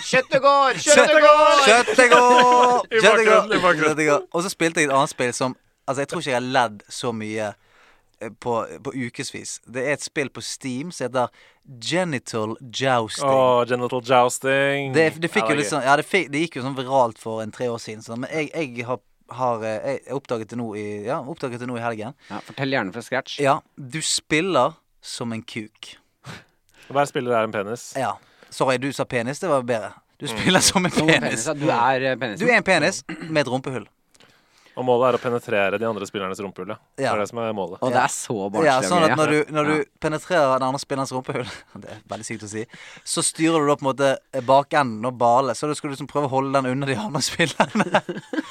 D: Kjøttet går! Kjøttet går!
A: Kjøttet går!
C: I bakgrunnen, i bakgrunnen.
A: Kjøttet går! Og så spilte jeg et annet spill som Altså, jeg tror ikke jeg har ledd så mye eh, på, på ukevis. Det er et spill på Steam som heter Genital Jousting.
C: Å, genital jousting.
A: Det, det fikk
C: Ja,
A: jo litt
C: gøy.
A: sånn Ja, det, fikk, det gikk jo sånn viralt for en tre år siden, sånn, men jeg, jeg har, har eh, jeg, jeg oppdaget det nå i Ja, oppdaget det nå i helgen.
D: Ja, fortell gjerne fra scratch.
A: Ja, du spiller som en kuk.
C: Hver spiller er en penis.
A: sånn- Ja. Sorry, du sa penis. Det var bedre. Du spiller som en
D: Mm. Som
A: penis.
D: penis, ja. Du er eh,
A: Du
D: penisen.
A: er en penis med et rumpehull.
C: Og målet er å penetrere de andre spillernes rumpehull. Ja. Det
A: Ja.
C: er det som er målet.
D: Og det er så barnslig.
A: Ja,
D: og
A: sånn
D: gøy,
A: at når du, når
D: Ja.
A: du penetrerer den andre spillerens rumpehull Det er veldig sykt å si. Så styrer du da på en måte bakenden og bale, så da skal du liksom prøve å holde den under de andre spillerne.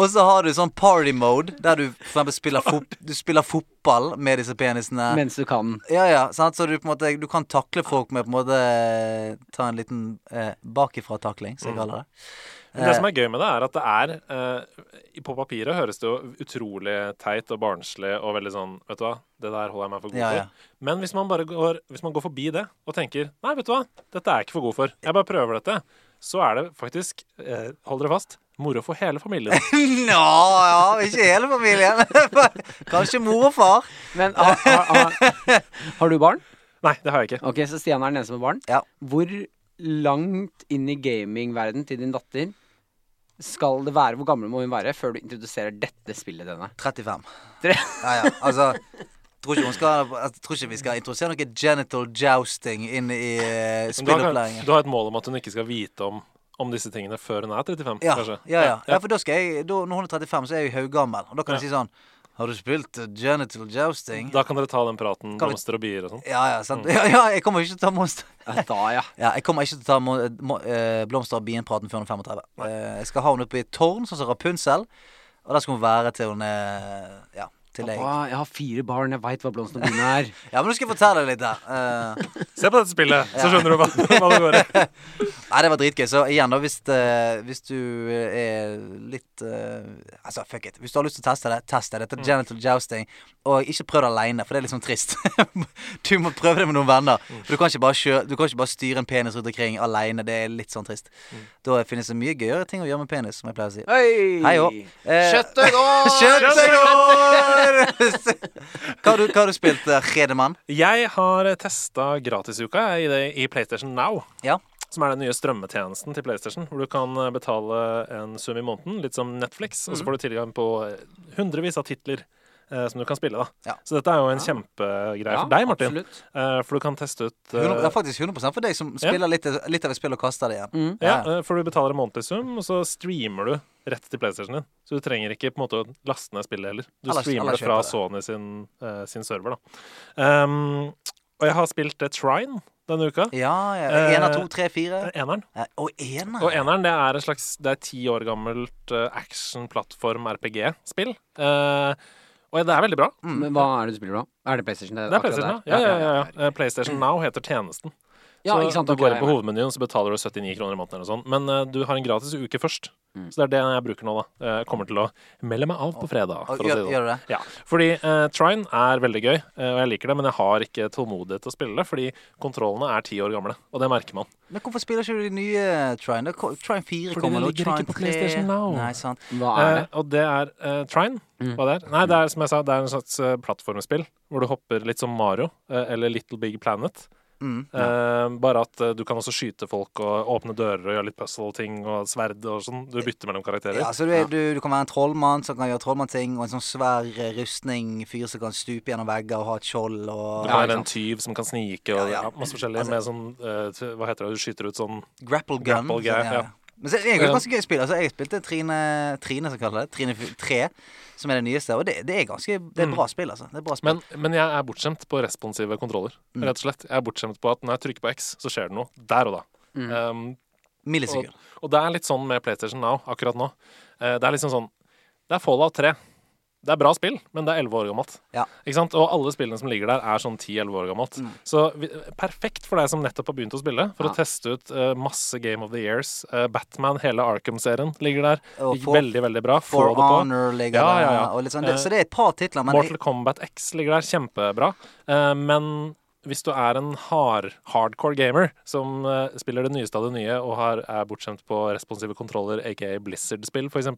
A: Og så har du sånn party mode, der du for eksempel spiller, fot du spiller fotball med disse penisene.
D: Mens du kan.
A: Ja, ja, sant? Så du, på en måte, du kan takle folk med på en måte eh, Ta en liten eh, bakifra-takling,
D: Mm.
A: som jeg kaller det.
C: Men
A: Eh.
C: det som er gøy med det, er at det er eh, På papiret høres det jo utrolig teit og barnslig og veldig sånn Vet du hva, det der holder jeg meg for god
A: Ja, ja.
C: for. Men hvis man bare går, hvis man går forbi det og tenker Nei, vet du hva, dette er jeg ikke for god for. Jeg bare prøver dette. Så er det faktisk, eh, hold dere fast, moro for hele familien.
A: Nå, ja, ikke hele familien. Kanskje mor og far.
D: Men har, har, har, har du barn?
C: Nei, det har jeg ikke.
D: Ok, så Stian er den eneste med barn.
A: Ja.
D: Hvor langt inn i gamingverden til din datter skal det være? Hvor gammel må hun være før du introduserer dette spillet til henne?
A: 35.
D: Tre-
A: Ja, ja, altså Tror ikke, hun skal, jeg tror ikke vi skal introdusere noe genital jousting inn i eh,
C: Men Du har,
A: spillopplæringen.
C: du har et mål om at hun ikke skal vite om, om disse tingene før hun er 35,
A: Ja, ja,
C: kanskje?
A: ja. ja, for da skal jeg, da, når hun er 35, så er jeg haugammel. Og da kan jeg si sånn Har du spilt eh, genital jousting?
C: Da kan dere ta den praten,
A: Kan vi-
C: blomster og bier og sånn.
A: Ja, ja, sant. Ja, ja, jeg kommer ikke til å ta monster.
D: Ja, Da, ja.
A: Ja, jeg kommer ikke til å ta mo mo eh, blomster og bien-praten før hun er 35. Eh, jeg skal ha henne oppe i et tårn, sånn som Rapunsel. Og der skal hun være til hun er Ja, til deg.
D: Pappa, jeg har fire barn, jeg veit hva blomstene mine er.
A: Ja, men nå skal jeg fortelle deg litt her. Eh,
C: Se på dette spillet, så skjønner du hva, hva det går i.
A: nei, det var dritgøy. Så igjen, da, hvis, eh, hvis du eh, er litt eh, Altså, fuck it. Hvis du har lyst til å teste det, test det. Dette er genital jousting. Og ikke prøv det aleine, for det er liksom trist. du må prøve det med noen venner. For du kan ikke bare, kjø du kan ikke bare styre en penis rundt omkring aleine. Det er litt sånn trist. Da finnes det mye gøyere ting å gjøre med penis, som jeg pleier å si.
D: Hei!
A: Hei òg.
C: Eh,
D: Kjøttet går!
A: Kjøttet går! Hva har du, hva har du spilt, eh, Redemann?
C: Jeg har testa gratisuka jeg, i, det- i PlayStation Now.
A: Ja.
C: Som er den nye strømmetjenesten til PlayStation, hvor du kan eh, betale en sum i måneden, litt som Netflix, og så får du tilgang på eh, hundrevis av titler. eh, som du kan spille. da
A: Ja.
C: Så dette er jo en
D: Ja.
C: kjempegreie for deg, Martin.
D: Absolutt.
C: Eh, For du kan teste ut eh,
A: 100, det er faktisk 100 for deg som spiller litt, eh, litt av et spill og kaster det igjen.
D: Mm.
C: ja, eh, For du betaler en månedlig sum, og så streamer du rett til PlayStation din. Så du trenger ikke på en måte å laste ned spillet heller. Du
A: Eller-
C: streamer
A: eller
C: det fra
A: kjøper
C: Sony sin, eh, sin server, da. Ehm, og jeg har spilt eh, Trine denne uka.
A: Ja, ja.
C: Eh,
A: Ener, to, tre, fire.
C: Eh, Eneren.
A: Eh, Og ener.
C: Og eneren det er et slags Det er ti år gammelt eh, action-plattform-RPG-spill. Eh, og det er veldig bra.
D: Men hva er det du spiller da? Er det PlayStation?
C: Det er PlayStation Now.
D: akkurat
C: Ja,
D: der?
C: ja, ja, ja. Eh, PlayStation Now heter tjenesten.
D: Ja,
C: så
D: ikke sant?
C: Du
D: ok,
C: går inn på
D: jeg er med.
C: hovedmenyen, så betaler du 79 kroner i måneden. eller noe sånt. Men eh, du har en gratis uke først. Så det er det jeg bruker nå. da. Eh, Jeg kommer til å melde meg av på fredag.
A: Og
C: for å si
A: gjør,
C: det sånn.
A: gjør du det?
C: Ja, fordi eh, Trine er veldig gøy, eh, og jeg liker det, men jeg har ikke tålmodighet til å spille det, fordi kontrollene er ti år gamle, og det merker man.
A: Men hvorfor spiller ikke du de nye Trine? Da ko- Trine 4
C: Fordi
A: kommer
C: det
A: nå.
C: ligger
A: Trine
C: ikke
A: 3.
C: på PlayStation Now.
A: Nei, sant.
D: Hva er det?
C: Eh, og det er eh, Trine.
A: Mm.
C: Hva det er? Nei, det er som jeg sa, det er en slags eh, plattformspill hvor du hopper litt som Mario eh, eller Little Big Planet.
A: Mm.
C: Eh, bare at eh, du kan også skyte folk og åpne dører og gjøre litt puzzle-ting og sverd og sånn. Du bytter mellom karakterer.
A: Ja, så du, er, du, du kan være en trollmann som kan gjøre trollmannting, og en sånn svær eh, rustning, fyr som kan stupe gjennom vegger og ha et skjold
C: Du
A: og
C: kan
D: Ja,
C: være
D: ikke
C: en tyv som kan snike og
A: Ja, Altså- ja.
C: ja, masse forskjellig med sånn eh, t- Hva heter det, du skyter ut sånn
A: grapple gun.
C: Grapple guy, ja.
A: Men så er det egentlig et ganske gøy spill. Altså, jeg spilte Trine, Trine som kaller det. Trine 3, som er det nyeste. Og det, det er ganske Det er et bra spill, altså. Det er et bra spill.
C: Mm. men, men jeg er bortskjemt på responsive kontroller.
A: Mm.
C: Rett og slett. Jeg er bortskjemt på at når jeg trykker på X, så skjer det noe. Der og da.
A: Mm.
C: Um,
A: Millisekund.
C: Og, og det er litt sånn med PlayStation Now akkurat nå. Eh, det er liksom sånn Det er Fallout 3. Det er bra spill, men det er 11 år gammelt.
A: Ja.
C: Ikke sant? Og alle spillene som ligger der, er sånn 10-11 år gammelt. Så vi, perfekt for deg som nettopp har begynt å spille, for
D: Ja.
C: å teste ut eh, masse Game of the Years. Eh, Batman, hele Arkham-serien ligger der.
A: Og
C: Gikk
A: for-
C: veldig, veldig bra. Få
A: For
C: det på.
A: Honor ligger
C: Ja,
A: der,
C: ja, ja.
A: og litt sånn. Det,
C: Eh,
A: så det er et par titler, men
C: Mortal Kombat X ligger der, kjempebra. Eh, men hvis du er en hard, hardcore gamer som eh, spiller det nyeste av det nye og har, er bortskjemt på responsive kontroller, aka Blizzard-spill f.eks.,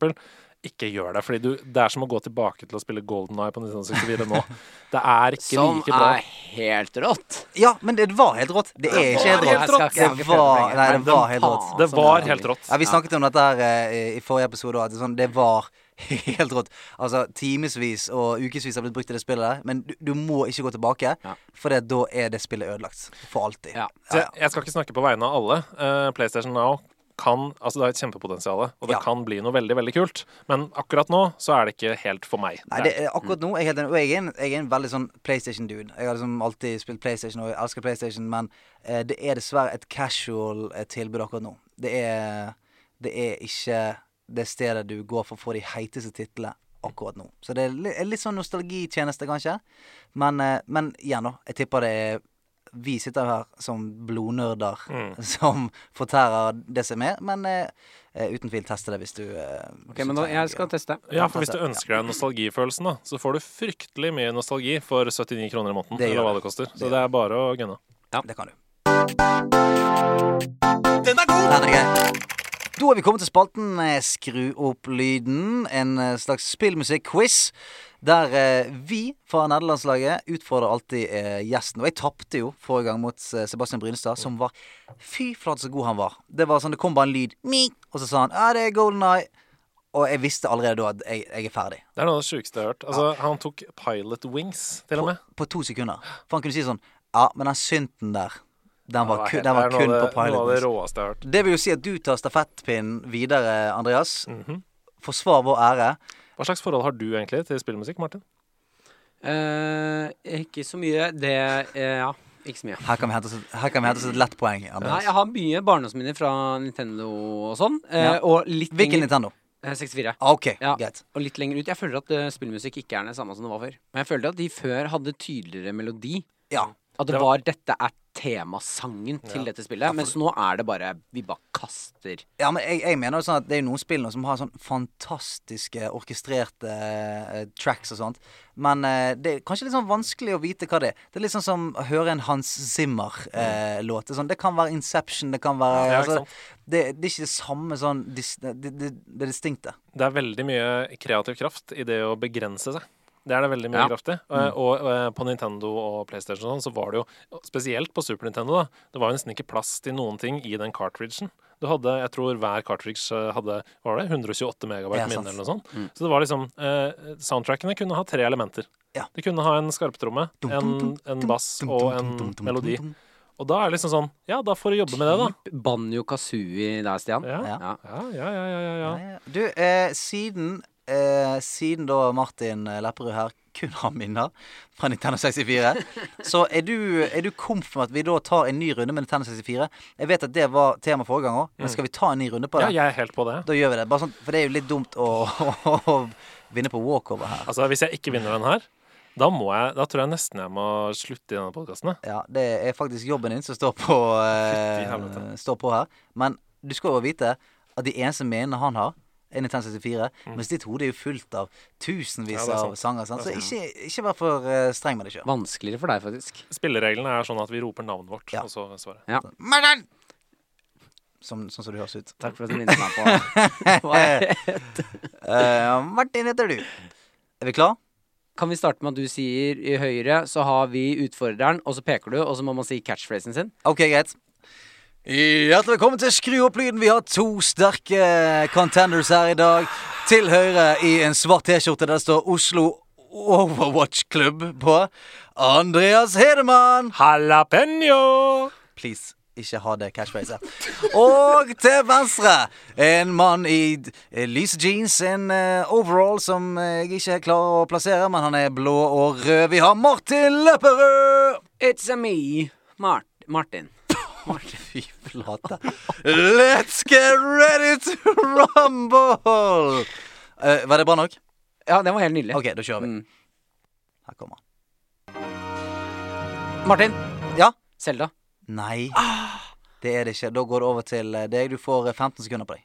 C: ikke gjør det. Fordi du, det er som å gå tilbake til å spille Golden Eye på 1964 nå. Det er ikke
A: Sånn
D: Som
C: like bra.
D: er helt rått.
A: Ja, men det var helt rått. Det er ikke helt rått.
C: var helt rått.
A: Det var, nei, det var helt rått.
C: Det var helt rått.
A: sånn Ja, Vi snakket om dette her eh, i forrige episode, og at det, sånn, det var helt rått. Altså, Timevis og ukevis har blitt brukt i det spillet der, men du, du må ikke gå tilbake,
D: Ja.
A: for det, da er det spillet ødelagt. For alltid.
D: Ja.
C: Så jeg, jeg skal ikke snakke på vegne av alle. Eh, PlayStation Now kan, altså det har et kjempepotensial, og det
A: Ja.
C: kan bli noe veldig veldig kult. Men akkurat nå så er det ikke helt for meg.
A: Nei, det, er akkurat
D: Mm.
A: nå jeg er helt enig. Og jeg er en, jeg er en veldig sånn PlayStation-dude. Jeg har liksom alltid spilt PlayStation, og jeg elsker PlayStation, men eh, det er dessverre et casual eh, tilbud akkurat nå. Det er, det er ikke det stedet du går for å få de heiteste titlene akkurat nå. Så det er li- er litt sånn nostalgitjeneste, kanskje. Men, eh, men igjen, da. Jeg tipper det er vi sitter her som blodnerder
D: Mm.
A: som fortærer det som er, men eh, eh, uten tvil teste det hvis du eh,
D: Ok, men nå, jeg skal teste.
C: Ja, for hvis du ønsker deg nostalgifølelsen, da, så får du fryktelig mye nostalgi for 79 kroner i måneden.
A: Det gjør
C: eller hva
A: det.
C: det koster.
A: Det
C: Så det er bare å gunne.
A: Det kan du.
B: Den er god!
A: Den er grei. Da er vi kommet til spalten eh, Skru opp lyden, en eh, slags spillmusikk-quiz. Der eh, vi fra nederlandslaget utfordrer alltid eh, gjesten. Og jeg tapte jo forrige gang mot eh, Sebastian Brynestad, som var Fy flate så god han var. Det var sånn, det kom bare en lyd, «Mi», og så sa han ja, det er Golden Eye. Og jeg visste allerede da at jeg, jeg er ferdig.
C: Det er noe av det sjukeste jeg har hørt. Altså, Han tok Pilot Wings, til og med.
A: På to sekunder. For han kunne si sånn Ja, men den synten der, den var,
C: Det
A: ku,
C: helt-
A: den var
C: det er
A: kun
C: noe
A: på
C: av det- Noe av det
A: piloten.
C: råeste jeg har hørt.
A: Det vil jo si at du tar stafettpinnen videre, Andreas. Forsvar vår ære.
C: Hva slags forhold har du egentlig til spillmusikk, Martin?
D: Eh, ikke så mye. Det eh, Ja, ikke så mye.
A: Her kan vi hente oss et, her kan vi hente oss et lett poeng.
D: Nei,
A: Andreas.
D: jeg har mye barndomsminner fra Nintendo og sånn. eh,
A: Ja.
D: Og litt
A: Hvilken
D: lenger-
A: Nintendo?
D: eh, 64.
A: Ah, OK,
D: Ja.
A: greit.
D: Og litt lenger ut. Jeg føler at eh, spillmusikk ikke er det samme som det var før. Men jeg føler at de før hadde tydeligere melodi.
A: Ja.
D: At det
C: Det
D: var 'dette er temasangen til dette spillet'. Mens nå er det bare Vi bare kaster.
A: ja, men jeg, jeg mener jo sånn at det er jo noen spill nå som har sånn fantastiske orkestrerte eh, tracks og sånt. Men eh, det er kanskje litt sånn vanskelig å vite hva det er. Det er litt sånn som å høre en Hans Zimmer-låt. sånn, det kan være Inception, det kan være
C: Ja, ikke
A: altså,
C: sant.
A: det, det er ikke det samme sånn dis, det, det, det distinkte.
C: Det er veldig mye kreativ kraft i det å begrense seg. Det er det veldig mye
D: Ja.
C: kraft i. Eh, Og, eh, på Nintendo og PlayStation og sånn, så var det jo Spesielt på Super Nintendo, da. Det var jo nesten ikke plass til noen ting i den cartridgen. Du hadde, jeg tror hver cartridge eh, hadde var det 128 megabyte
A: Ja, sant.
C: minne eller noe sånt. Så det var liksom eh, Soundtrackene kunne ha tre elementer.
A: Ja.
C: De kunne ha en skarptromme, en, en bass og en melodi. Og da er det liksom sånn Ja, da får du jobbe med det, da.
D: Banjo Kazooie der, Stian.
C: Ja, ja,
D: Ja.
C: ja, ja, ja, ja.
A: Ja, ja. Du, eh, siden eh, Siden da Martin eh, Lepperød her kun har minner fra Nintendo 64, så er du, er du komf med at vi da tar en ny runde med Nintendo 64? Jeg vet at det var tema forrige gang òg, men skal vi ta en ny runde på
C: Mm. ja
A: det?
C: jeg er helt på det.
A: Da gjør vi det. Bare sånn, for det er jo litt dumt å, å, vinne på walkover her.
C: Altså, hvis jeg ikke vinner den her, da, må jeg, da tror jeg nesten jeg må slutte i denne podkasten.
A: Ja, det er faktisk jobben din som står på,
C: Fytti helvete.
A: eh, står på her. Men du skal jo vite at de eneste menene han har, er Nintendo 64. Mens ditt hode er jo fullt av tusenvis
C: Mm. Ja, det er
A: av
C: sant.
A: sanger. Sant? Så ikke, ikke vær for eh, streng med deg sjøl.
D: Vanskeligere for deg, faktisk.
C: Spillereglene er sånn at vi roper navnet vårt,
A: Ja.
C: og så svarer jeg.
A: Sånn, sånn som du høres ut.
D: Takk for at du minnet meg på det.
A: Eh, Martin heter du. Er vi klar?
D: Kan vi starte med at du sier i høyre, så har vi utfordreren, og så peker du, og så må man si catchphrasen sin?
A: Ok, greit. Hjertelig velkommen til Skru opp lyden. Vi har to sterke contenders her i dag. Til høyre i en svart T-skjorte der det står Oslo Overwatch Club på. Andreas Hedemann.
C: Jalapeño!
A: Please, ikke ha det catchphrase. Og til venstre en mann i d- eh, lyse jeans, en eh, overall som eh, jeg ikke klarer å plassere, men han er blå og rød. Vi har Martin Lepperød.
D: It's a me, Mart Martin.
A: Fy flate. Let's get ready to rumble! Eh, var det bra nok?
D: Ja, den var helt nydelig.
A: OK, da kjører vi.
D: Mm.
A: Her kommer han.
D: Martin.
A: Ja?
D: Selda.
A: Nei. Det er det ikke. Da går det over til eh, deg. Du får eh, 15 sekunder på deg.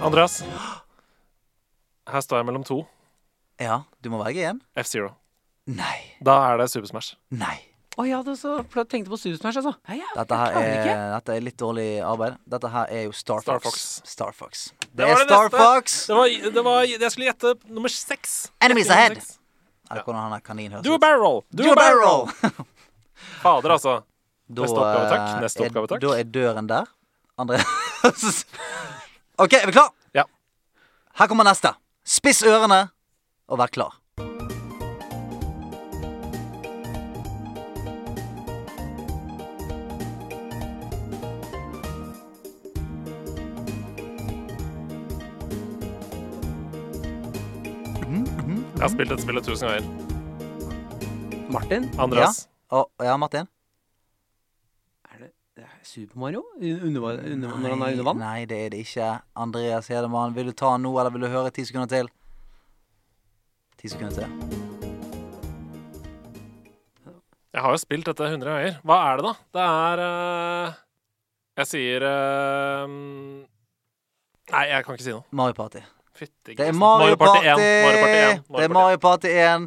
C: Andreas. Her står jeg mellom to.
A: Ja, du må velge igjen.
C: F-Zero.
A: Nei.
C: Da er det Super Smash.
A: Nei.
D: Å ja, du så pl- tenkte på Studio Smash, altså. Nei, jeg,
A: Dette her
D: klarer
A: er,
D: ikke.
A: dette er litt dårlig arbeid. Dette her er jo Star
C: Star
A: Fox.
C: Fox.
A: Star Fox. Det,
C: var
A: er
C: det
A: Star
C: neste.
A: Fox.
C: Det var, det var, jeg skulle gjette nummer seks.
A: Enemies
C: Nummer
A: ahead.
C: seks.
A: Eller hvordan han er kanin høres
C: Do a barrel roll.
A: Do a barrel!
C: Fader, altså.
A: Da,
C: Neste oppgave, takk.
A: eh,
C: Neste oppgave, takk.
A: Er, da er døren der. Andreas OK, er vi klar?
C: Ja.
A: Her kommer neste. Spiss ørene og vær klar.
C: Jeg har spilt dette spillet tusen ganger.
D: Martin.
C: Andreas.
A: Og, ja, Martin?
D: Er det, det er Super Mario? Under, under, når han er under vann?
A: Nei, det er det ikke. Andreas Hedemann, vil du ta han nå, eller vil du høre ti sekunder til? Ti sekunder til.
C: Jeg har jo spilt dette 100 ganger. Hva er det, da? Det er eh, Jeg sier eh, Nei, jeg kan ikke si noe.
A: Mario Party.
C: Fytti
A: Det er
C: grisen.
A: Mario Party!
C: 1, Mario Party 1.
A: Det er Mario Party 1.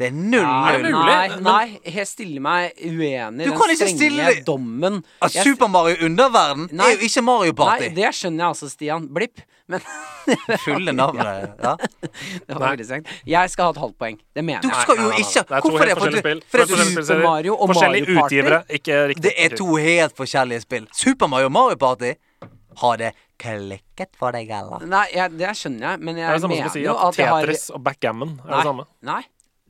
A: Det er
D: Nei,
A: 0-0.
C: det mulig?
D: nei,
C: Men-
D: nei, jeg stiller meg uenig i
A: Du
D: den
A: kan ikke stille
D: strenge
A: deg-
D: dommen.
A: Altså,
D: Jeg-
A: Super Mario Underverden
D: Nei.
A: er jo ikke Mario Party.
D: Nei, det skjønner jeg altså, Stian. Blipp. Men
A: Fulle navnet. Ja.
D: det var
C: Nei.
D: veldig strengt. Jeg skal ha et halvt poeng. Det mener
A: Du
D: jeg.
A: skal jo
C: Nei, nei, nei.
A: ikke
C: Det er to
A: Hvorfor
C: helt
A: det? Fordi-
C: forskjellige spill.
A: fordi
C: To helt
A: du-
C: forskjellige
D: Super
C: serier.
D: Mario og
C: Forskjellige
D: Mario Party.
C: utgivere, ikke riktig.
A: Det er to helt forskjellige spill. Super Mario og Mario Party har det klikket for deg, eller?
D: Nei, jeg, det skjønner jeg, men
C: Det er
D: jeg
C: det samme som
D: mener
C: å si
D: jo
C: at,
D: at jeg har
C: Tetris og backgammon er det
D: Nei,
C: samme.
D: nei.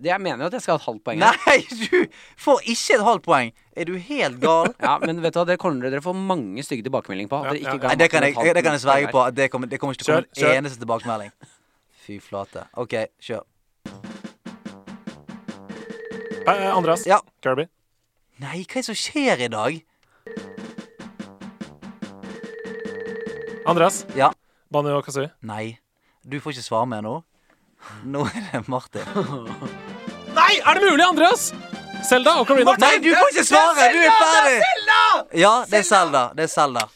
D: Det jeg mener jo at jeg skal ha et halvt poeng. her.
A: Nei, du får ikke et halvt poeng. Er du helt gal?
D: Ja, men vet du hva, det kommer dere til å få mange stygge tilbakemeldinger på. At dere
C: Ja,
D: ikke
C: ja,
D: ga
A: Nei, det kan
D: Martin
A: jeg,
D: et halvt
A: det kan jeg sverge
D: poeng
A: på. at Det kommer, det kommer ikke til å komme
C: Kjør, kjør.
A: en eneste tilbakemelding. Fy flate. OK, kjør.
C: Eh, Andreas.
A: Ja.
C: Kirby.
A: Nei, hva er det som skjer i dag?
C: Andreas.
A: Ja.
C: Banjo og Kazooie.
A: Nei. Du får ikke svare mer nå. Nå er det Martin.
C: Nei, er det mulig, Andreas? Selda og Karina.
A: Nei, du får ikke svare! Du er ferdig! Ja, det er Selda. Det er Selda.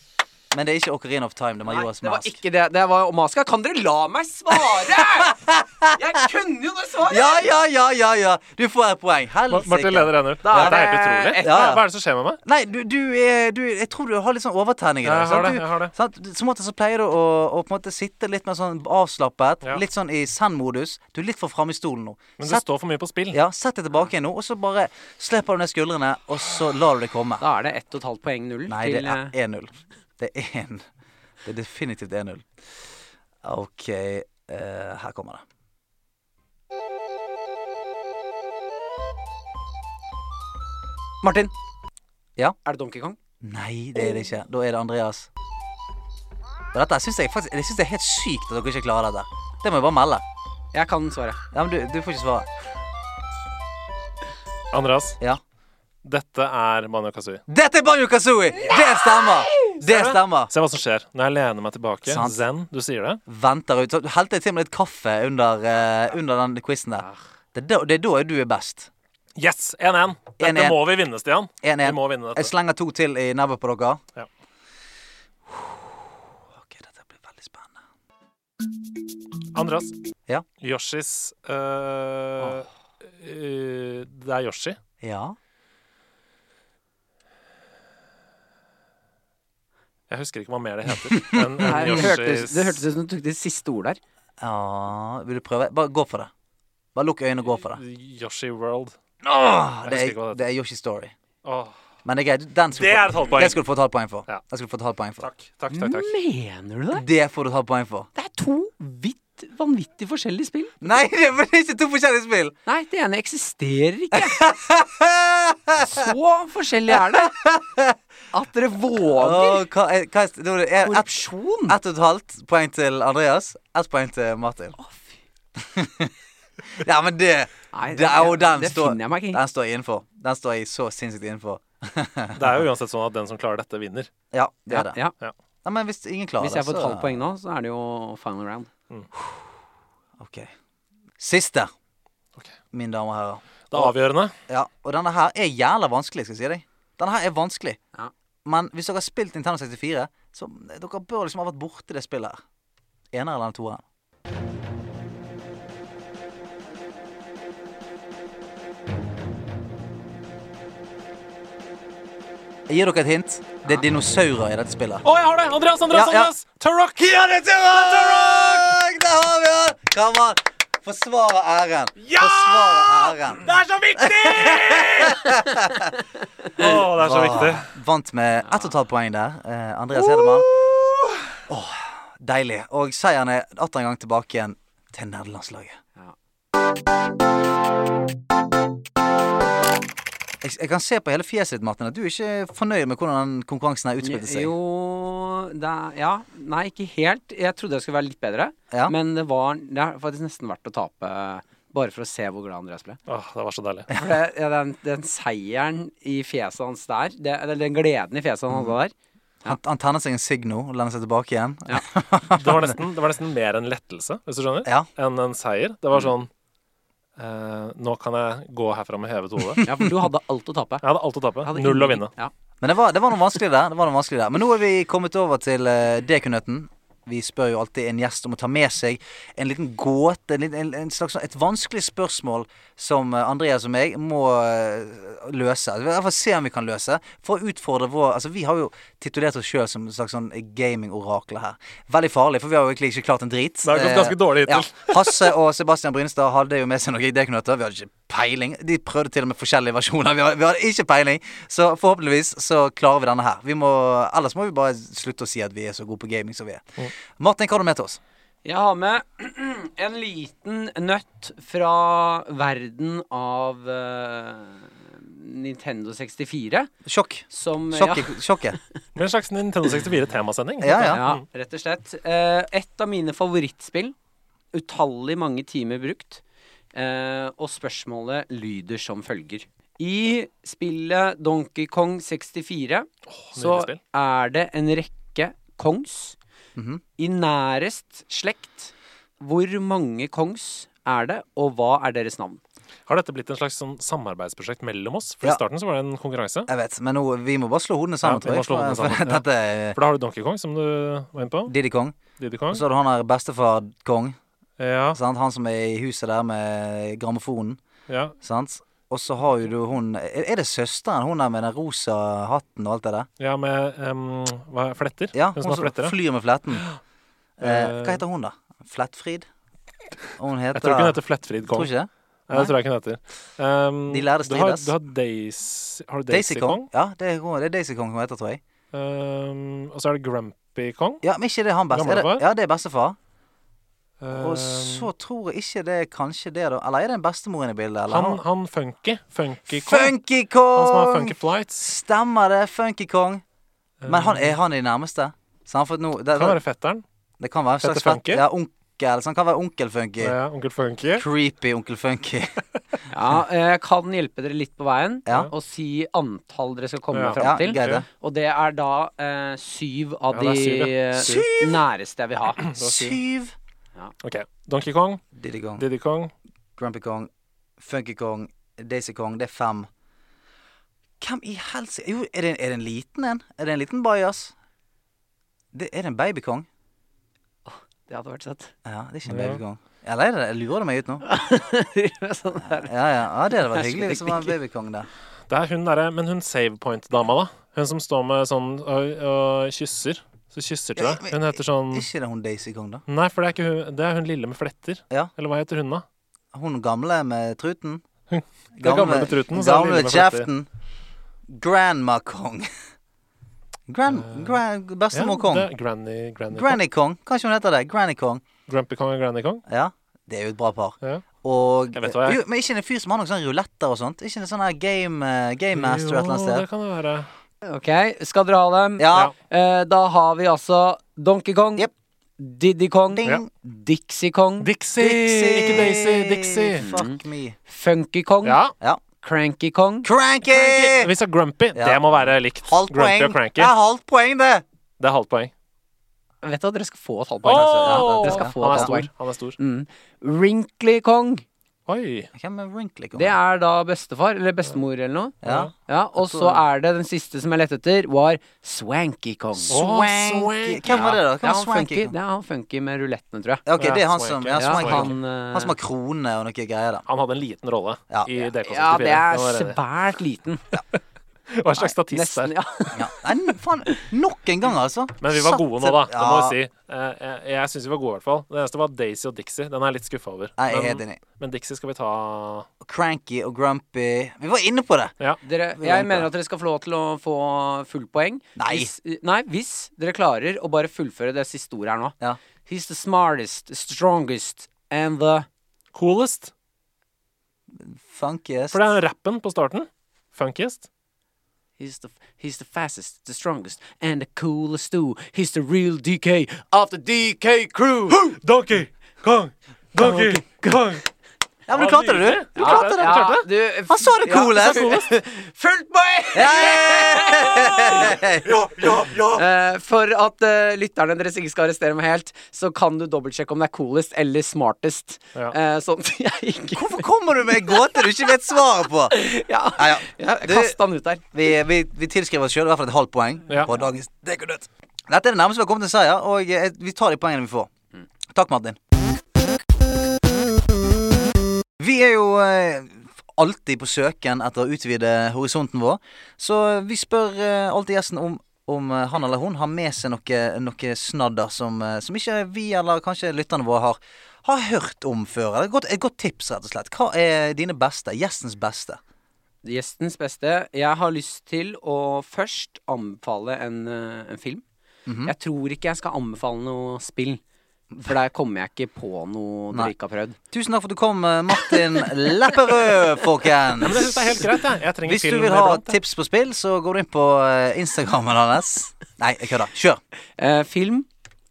A: Men det er ikke Ocarina of Time, det var Majora's
D: det var
A: Mask.
D: ikke det. Det var Omaska. Kan dere la meg svare?! Jeg kunne jo det svaret!
A: Ja, ja, ja, ja, ja! Du får et poeng.
C: Ma- Martin
A: Helsike.
C: leder ennå. Det
D: Da er
C: er helt
D: det
C: utrolig.
D: ett,
A: ja.
C: Hva er det som skjer med meg?
A: Nei, du, du, er, du Jeg tror du har litt sånn overtenning i
C: Ja,
A: dag.
C: jeg har
A: sant?
C: det,
A: Du-
C: jeg har det.
A: Sant? Du- Som måte så pleier du å, å på en måte sitte litt mer sånn avslappet.
C: Ja.
A: Litt sånn i zen-modus. Du er litt for framme i stolen nå.
C: Men det
A: Sett,
C: står for mye på spill.
A: ja, sett deg tilbake igjen nå, og så bare slipper du ned skuldrene, og så lar du det komme.
D: Da er det ett og et halvt poeng null
A: Nei, det
D: til
A: er
D: eh,
A: 1-0. Det er 1. Det er definitivt 1-0. OK, eh, her kommer det.
D: Martin!
A: E- Ja?
D: Er det Donkey Kong?
A: Nei, det er det ikke. Da er det Andreas. Og dette syns jeg faktisk Jeg synes det er helt sykt at dere ikke klarer dette. Det må jeg bare melde.
D: Jeg kan svaret.
A: Ja, men du, du får ikke svare.
C: Andreas,
A: Ja.
C: dette er Manu Kazooie.
A: Dette er Banjo Kazooie! Det stemmer! Det stemmer.
C: Se hva som skjer når jeg lener meg tilbake.
A: Sant.
C: Zen, du sier det.
A: Venter ut. Så du helte til og med litt kaffe under, eh, under den quizen der. Det er, da, det er da du er best.
C: Yes! 1-1. Dette
A: 1-1.
C: må vi vinne, Stian. Vi må
A: 1-1.
C: vinne
A: Jeg
C: dette.
A: slenger to til i nebbet på dere.
C: Ja.
A: Ok, dette blir veldig spennende.
C: Andreas.
A: Ja.
C: Yoshis øh, øh, Det er Yoshi.
A: Ja.
C: Jeg husker ikke hva mer det heter. Men
A: Mm.
D: Her,
C: en
D: det, hørtes,
C: Yoshis
D: det hørtes ut som du tok det siste ordet her.
A: ja. Vil du prøve? Bare gå for det. Bare lukk øynene og gå for det.
C: Yoshi World.
A: Åh,
C: Jeg
A: Ah, det,
C: husker ikke
A: er,
C: hva det heter.
A: det er Yoshi Story.
C: Åh,
A: Men det er greit. Den skal
C: Det
A: du få-
C: er et halvt poeng.
A: Det skal du få et halvt poeng for.
C: Ja.
A: Det skal du få et halvt poeng for.
C: takk, takk, takk.
A: Mm.
C: takk.
D: Mener du det?
A: Det får du et halvt poeng for.
D: Det er to vidt vanvittig forskjellige spill.
A: Nei, det er ikke to forskjellige spill!
D: Nei, det ene eksisterer ikke. Så forskjellig er det at dere våger
A: Åh, hva, er- hva er, da er det er ett
D: korrupsjon.
A: ett og et halvt poeng til Andreas, ett poeng til Martin. Ja, men det
D: Nei, det-
A: det, er jo den
D: det
A: står,
D: finner jeg meg ikke i.
A: Den står jeg innenfor. Den står jeg så sinnssykt innenfor.
C: Det er jo uansett sånn at den som klarer dette, vinner.
A: Ja, det
D: Ja,
A: er det.
D: ja.
A: Nei, men hvis ingen klarer
D: Hvis jeg får
A: det,
D: et
A: så-
D: halvt poeng nå, så er det jo final round.
A: Ok. Siste,
C: Ok.
A: mine damer og herrer.
C: Det er avgjørende.
A: Ja, og denne her er jævla vanskelig, skal jeg si deg. Denne her er vanskelig.
D: Ja.
A: Men hvis dere har spilt Nintendo 64, så dere bør liksom ha vært borti det spillet her. Ener eller toeren. Jeg gir dere et hint. Det er dinosaurer i dette spillet.
C: Å, jeg har det! Andreas, Andreas,
A: Ja, ja.
C: Andreas! Turok!
A: Turok! Der har vi den! Kom an! Forsvare æren.
C: Ja!
A: Forsvare æren.
C: Det er så viktig! Å, det er så viktig.
A: Vant med ett og et halvt poeng der. Eh, Andreas Hedemann. Åh, deilig. Og seieren er atter en gang tilbake igjen til nederlandslaget.
D: Ja.
A: Jeg, jeg kan se på hele fjeset ditt, Martin, at du er ikke fornøyd med hvordan den konkurransen her utspilte seg.
D: Jo det er, Ja. Nei, ikke helt. Jeg trodde jeg skulle være litt bedre,
A: Ja.
D: men det var Det er faktisk nesten verdt å tape. Bare for å se hvor glad Andreas ble.
C: Åh, det var så deilig.
D: For det, ja, den, den seieren i fjeset hans der, det, eller den gleden i fjeset han hadde der
A: Han, han tenner seg en Signo og lener seg tilbake igjen.
D: Ja.
C: Det var nesten, det var nesten mer en lettelse, hvis du skjønner,
A: Ja. Mm.
C: enn en seier. Det var sånn eh, Nå kan jeg gå herfra med hevet hode. Jeg
D: Ja, for du hadde alt å tape.
C: hadde alt å tappe.
D: Hadde
C: Null å
D: ingen-
C: vinne.
D: Ja.
A: Men det var, det var noe vanskelig der. Det var noe vanskelig der. Men nå er vi kommet over til uh, D-knøtten. Vi spør jo alltid en gjest om å ta med seg en liten gåte, en, liten- en, en slags, sånn- et vanskelig spørsmål som eh, Andreas og meg må eh, løse. I hvert fall se om vi kan løse. For å utfordre vår Altså, vi har jo titulert oss sjøl som et slags sånn gaming-orakler her. Veldig farlig, for vi har jo egentlig ikke klart en drit.
C: Det har gått
A: Eh,
C: ganske dårlig
A: Ja.
C: hittil.
A: Hasse og Sebastian Brynstad hadde jo med seg noen idéknøtter. Vi hadde ikke peiling. De prøvde til og med forskjellige versjoner. Vi hadde, vi hadde ikke peiling. Så forhåpentligvis så klarer vi denne her. Vi må, ellers må vi bare slutte å si at vi er så gode på gaming som vi er.
C: Mm.
A: Martin, hva har du med til oss?
D: Jeg har med en liten nøtt fra verden av eh, Nintendo 64.
A: Sjokk.
D: Som
C: eh,
A: Sjokket. Sjokket.
C: Med en slags Nintendo Mm. 64-temasending.
A: Ja, ja.
D: Ja, ja, rett og slett. Eh, et av mine favorittspill. Utallig mange timer brukt. Eh, og spørsmålet lyder som følger. I spillet Donkey Kong 64 så
C: spill.
D: er det en rekke kongs
A: Mhm.
D: i nærest slekt. Hvor mange kongs er det, og hva er deres navn?
C: Har dette blitt en slags sånn samarbeidsprosjekt mellom oss? For
A: Ja.
C: i starten så var det en konkurranse.
A: Jeg vet, men nå, vi må bare slå hodene sammen,
C: Ja, vi må slå
A: tror jeg.
C: hodene
A: For,
C: sammen,
A: for
C: ja.
A: dette er
C: For da har du Donkey Kong, som du var inne på.
A: Didi Kong.
C: Diddy
A: Og
C: Kong.
A: så har du han her bestefar Kong.
C: Ja,
A: Sant? Han som er i huset der med grammofonen.
C: ja.
A: Sant? Og så har jo du hun Er er det søsteren, hun der med den rosa hatten og alt det der?
C: ja med em, hva, er- fletter.
A: Ja,
C: Hun
A: hun
C: som har
A: som
C: fletter, ja.
A: flyr med fletten. Eh,
C: Eh,
A: hva heter hun, da? Flettfrid? Og hun heter
C: Jeg tror ikke hun heter Flettfrid
A: Tror
C: Kong.
A: ikke det?
C: Nei, det tror jeg ikke hun heter. Em,
A: De lærde
C: du har,
A: strides.
C: du har Daisy, har du
A: Daisy
C: Daisy
A: Kong?
C: Kong.
A: Ja, det er, hun- det er Daisy Kong hun heter, tror jeg.
C: Em, Um, og så er det Grumpy Kong.
A: Ja, Men ikke det er han best? Er det,
C: Gamlefar?
A: ja, det er bestefar.
C: Em, Eh,
A: Og så tror jeg ikke det er kanskje det, da. Eller er det en bestemor inne i bildet? Eller?
C: han, han funky. Funky Kong.
A: Funky
C: Han som har
A: Kong!
C: funky flights.
A: Stemmer det, Funky Kong. Men han
C: Em,
A: er han i nærmeste? Så han får nå det,
C: Eh. Kan
A: det,
C: være fetteren.
A: det kan være en slags
C: Petter Funky? Eh.
A: fett- Ja, onkel. Så han kan være onkel Funky.
C: Ja, onkel Funky.
A: Creepy onkel Funky.
D: Ja, eh, jeg kan hjelpe dere litt på veien
A: Ja.
D: og si antall dere skal komme
C: Ja.
D: fram
A: Ja,
D: til.
A: greit det.
D: Og det er da eh, syv av
C: Ja, det er
D: de
C: syv, ja.
D: eh,
A: Syv?
D: næreste jeg vil ha.
A: Syv.
C: Ok, Donkey Kong,
A: Diddy Kong,
C: Diddy Kong,
A: Grumpy Kong, Funky Kong, Daisy Kong. Det er fem. Hvem i helsike Jo, er det, er det en liten en? Er det en liten bajas? Det, er det en babykong?
D: Det hadde vært søtt.
A: Ja, det er ikke en
C: Ja.
A: babykong. Eller er det Jeg lurer det meg ut nå.
D: sånn der.
A: Ja, ja, ja det hadde vært
D: Jeg
A: hyggelig hvis det var en babykong der.
C: Det er hun derre Men hun savepoint-dama, da. Hun som står med sånn og, og kysser. Så kysser til
A: Ja,
C: deg.
A: men-
C: Hun heter sånn
A: Ikke det hun Daisy Kong, da?
C: Nei, for det er ikke hun Det er hun lille med fletter.
A: Ja.
C: Eller hva heter hun, da?
A: Hun gamle med truten?
C: Det er gamle med truten. så er hun
A: Gamle
C: lille
A: med
C: med fletter.
A: kjeften. Grandma Kong. Grand, grand, bestemor Kong.
C: Eh, det er Granny, Granny Kong.
A: Granny Kong. Kanskje hun heter det. Granny Kong.
C: Grumpy Kong og Granny Kong.
A: Ja, det er jo et bra par.
C: Ja.
A: Og
C: Jeg vet hva jeg-
A: jo, Men ikke en fyr som har noen sånne ruletter og sånt? Ikke en sånn her game, eh, game master et eller annet
C: Jo, det
A: sted?
C: kan det være.
D: Ok, skal dere ha dem?
A: Ja.
C: Ja.
D: Eh, da har vi altså Donkey Kong,
A: Jep.
D: Diddy Kong,
A: Ding.
C: Ja.
D: Dixie Kong,
C: Dixie! Ikke Daisy. Dixie.
A: Fuck me.
D: Funky Kong,
C: Ja.
A: Ja.
D: Cranky Kong.
A: Cranky!
C: Cranky. Vi sa Grumpy.
A: Ja.
C: Det må være likt.
A: Halvt
C: Grumpy
A: poeng.
C: og Cranky.
A: Det er halvt poeng, det.
C: Det er halvt poeng.
D: Vet du hva, dere skal få et
C: Åh!
D: halvt poeng. altså.
A: ja,
D: dere skal få
C: han
D: et
C: er
D: halvt
C: stor.
D: poeng.
C: Han er stor.
D: Mm. Wrinkly Kong.
C: Oi.
A: Hvem er Wrinkly Kong?
D: Det er da bestefar, eller bestemor, eller noe.
A: ja.
D: Ja, Og så er det den siste som jeg lette etter, var Swanky Kong.
A: Swanky.
C: swanky.
A: Hvem var det, da?
D: Det er
A: Hvem var
D: han
A: Swanky
D: funky,
A: Kong?
D: det er han funky med rulettene, tror jeg.
A: Ja, ok,
C: Ja,
A: det er han
C: Swanky.
A: som
C: Ja,
A: ja, Swanky.
D: han,
A: Han,
D: eh,
A: som har krone og noe greier, da.
C: Han hadde en liten rolle
A: Ja.
C: i DK74.
D: ja,
A: sånn
D: det er
C: var enig.
D: svært liten.
C: Hva slags statist
D: Nesten,
C: der.
D: ja.
A: Ja. Nei, faen. Nok en gang, altså.
C: Men vi var
A: Satt-
C: gode nå, da. Det må
A: Ja.
C: jeg si. Eh, Jeg, jeg syns vi var gode, i hvert fall. Det eneste var Daisy og Dixie. Den er jeg litt skuffa over.
A: Nei, jeg er helt
C: men,
A: enig.
C: men Dixie skal vi ta
A: Cranky og grumpy Vi var inne på det.
D: Dere,
A: Vi
D: jeg
A: venter.
D: mener at dere skal få lov til å få full poeng.
A: Nei.
D: Hvis, nei, hvis dere klarer å bare fullføre det siste ordet her nå.
A: Ja.
D: He's the smartest, strongest and the
C: Coolest.
A: Funkiest.
C: For det er rappen på starten. Funkiest.
D: He's the, he's the fastest, the strongest, and the coolest too. He's the real DK of the DK crew.
C: Donkey Kong. Donkey Kong.
A: Ja, men du klarte det, du. Du klarte det.
D: Ja, du,
A: Han sa det coolest.
D: Fullt poeng!
A: Hey!
D: Eh, for at eh, lytterne deres ikke skal arrestere meg helt, så kan du dobbeltsjekke om det er coolest eller smartest.
C: Ja.
D: Eh, sånn at jeg ikke
A: Hvorfor kommer du med gåter du ikke vet svaret på?
D: Ja,
A: Ja, ja.
D: jeg
A: Du-
D: kasta han ut der.
A: Vi, vi, vi tilskriver oss sjøl i hvert fall et halvt poeng
C: Ja.
A: på dagens Dekodødt. Dette er det nærmeste vi har kommet en seier, og eh, vi tar de poengene vi får. Takk, Martin. Vi er jo eh, alltid på søken etter å utvide horisonten vår, så vi spør eh, alltid gjesten om om eh, han eller hun har med seg noe, noe snadder som, eh, som ikke vi eller kanskje lytterne våre har, har hørt om før. Eller et godt, et godt tips, rett og slett. Hva er dine beste? Gjestens beste?
D: Gjestens beste. Jeg har lyst til å først anbefale en, eh, en film. Jeg tror ikke jeg skal anbefale noe spill. For der kommer jeg ikke på noe
A: Nei.
D: dere ikke har prøvd.
A: Tusen takk for at du kom, eh, Martin Lepperød, folkens.
C: Men jeg syns det er helt greit, jeg. Jeg trenger
A: Hvis du
C: film
A: vil
C: iblant,
A: ha
C: jeg.
A: tips på spill, så går du inn på eh, Instagrammen hans. Nei, jeg kødder. Kjør.
D: Eh, film.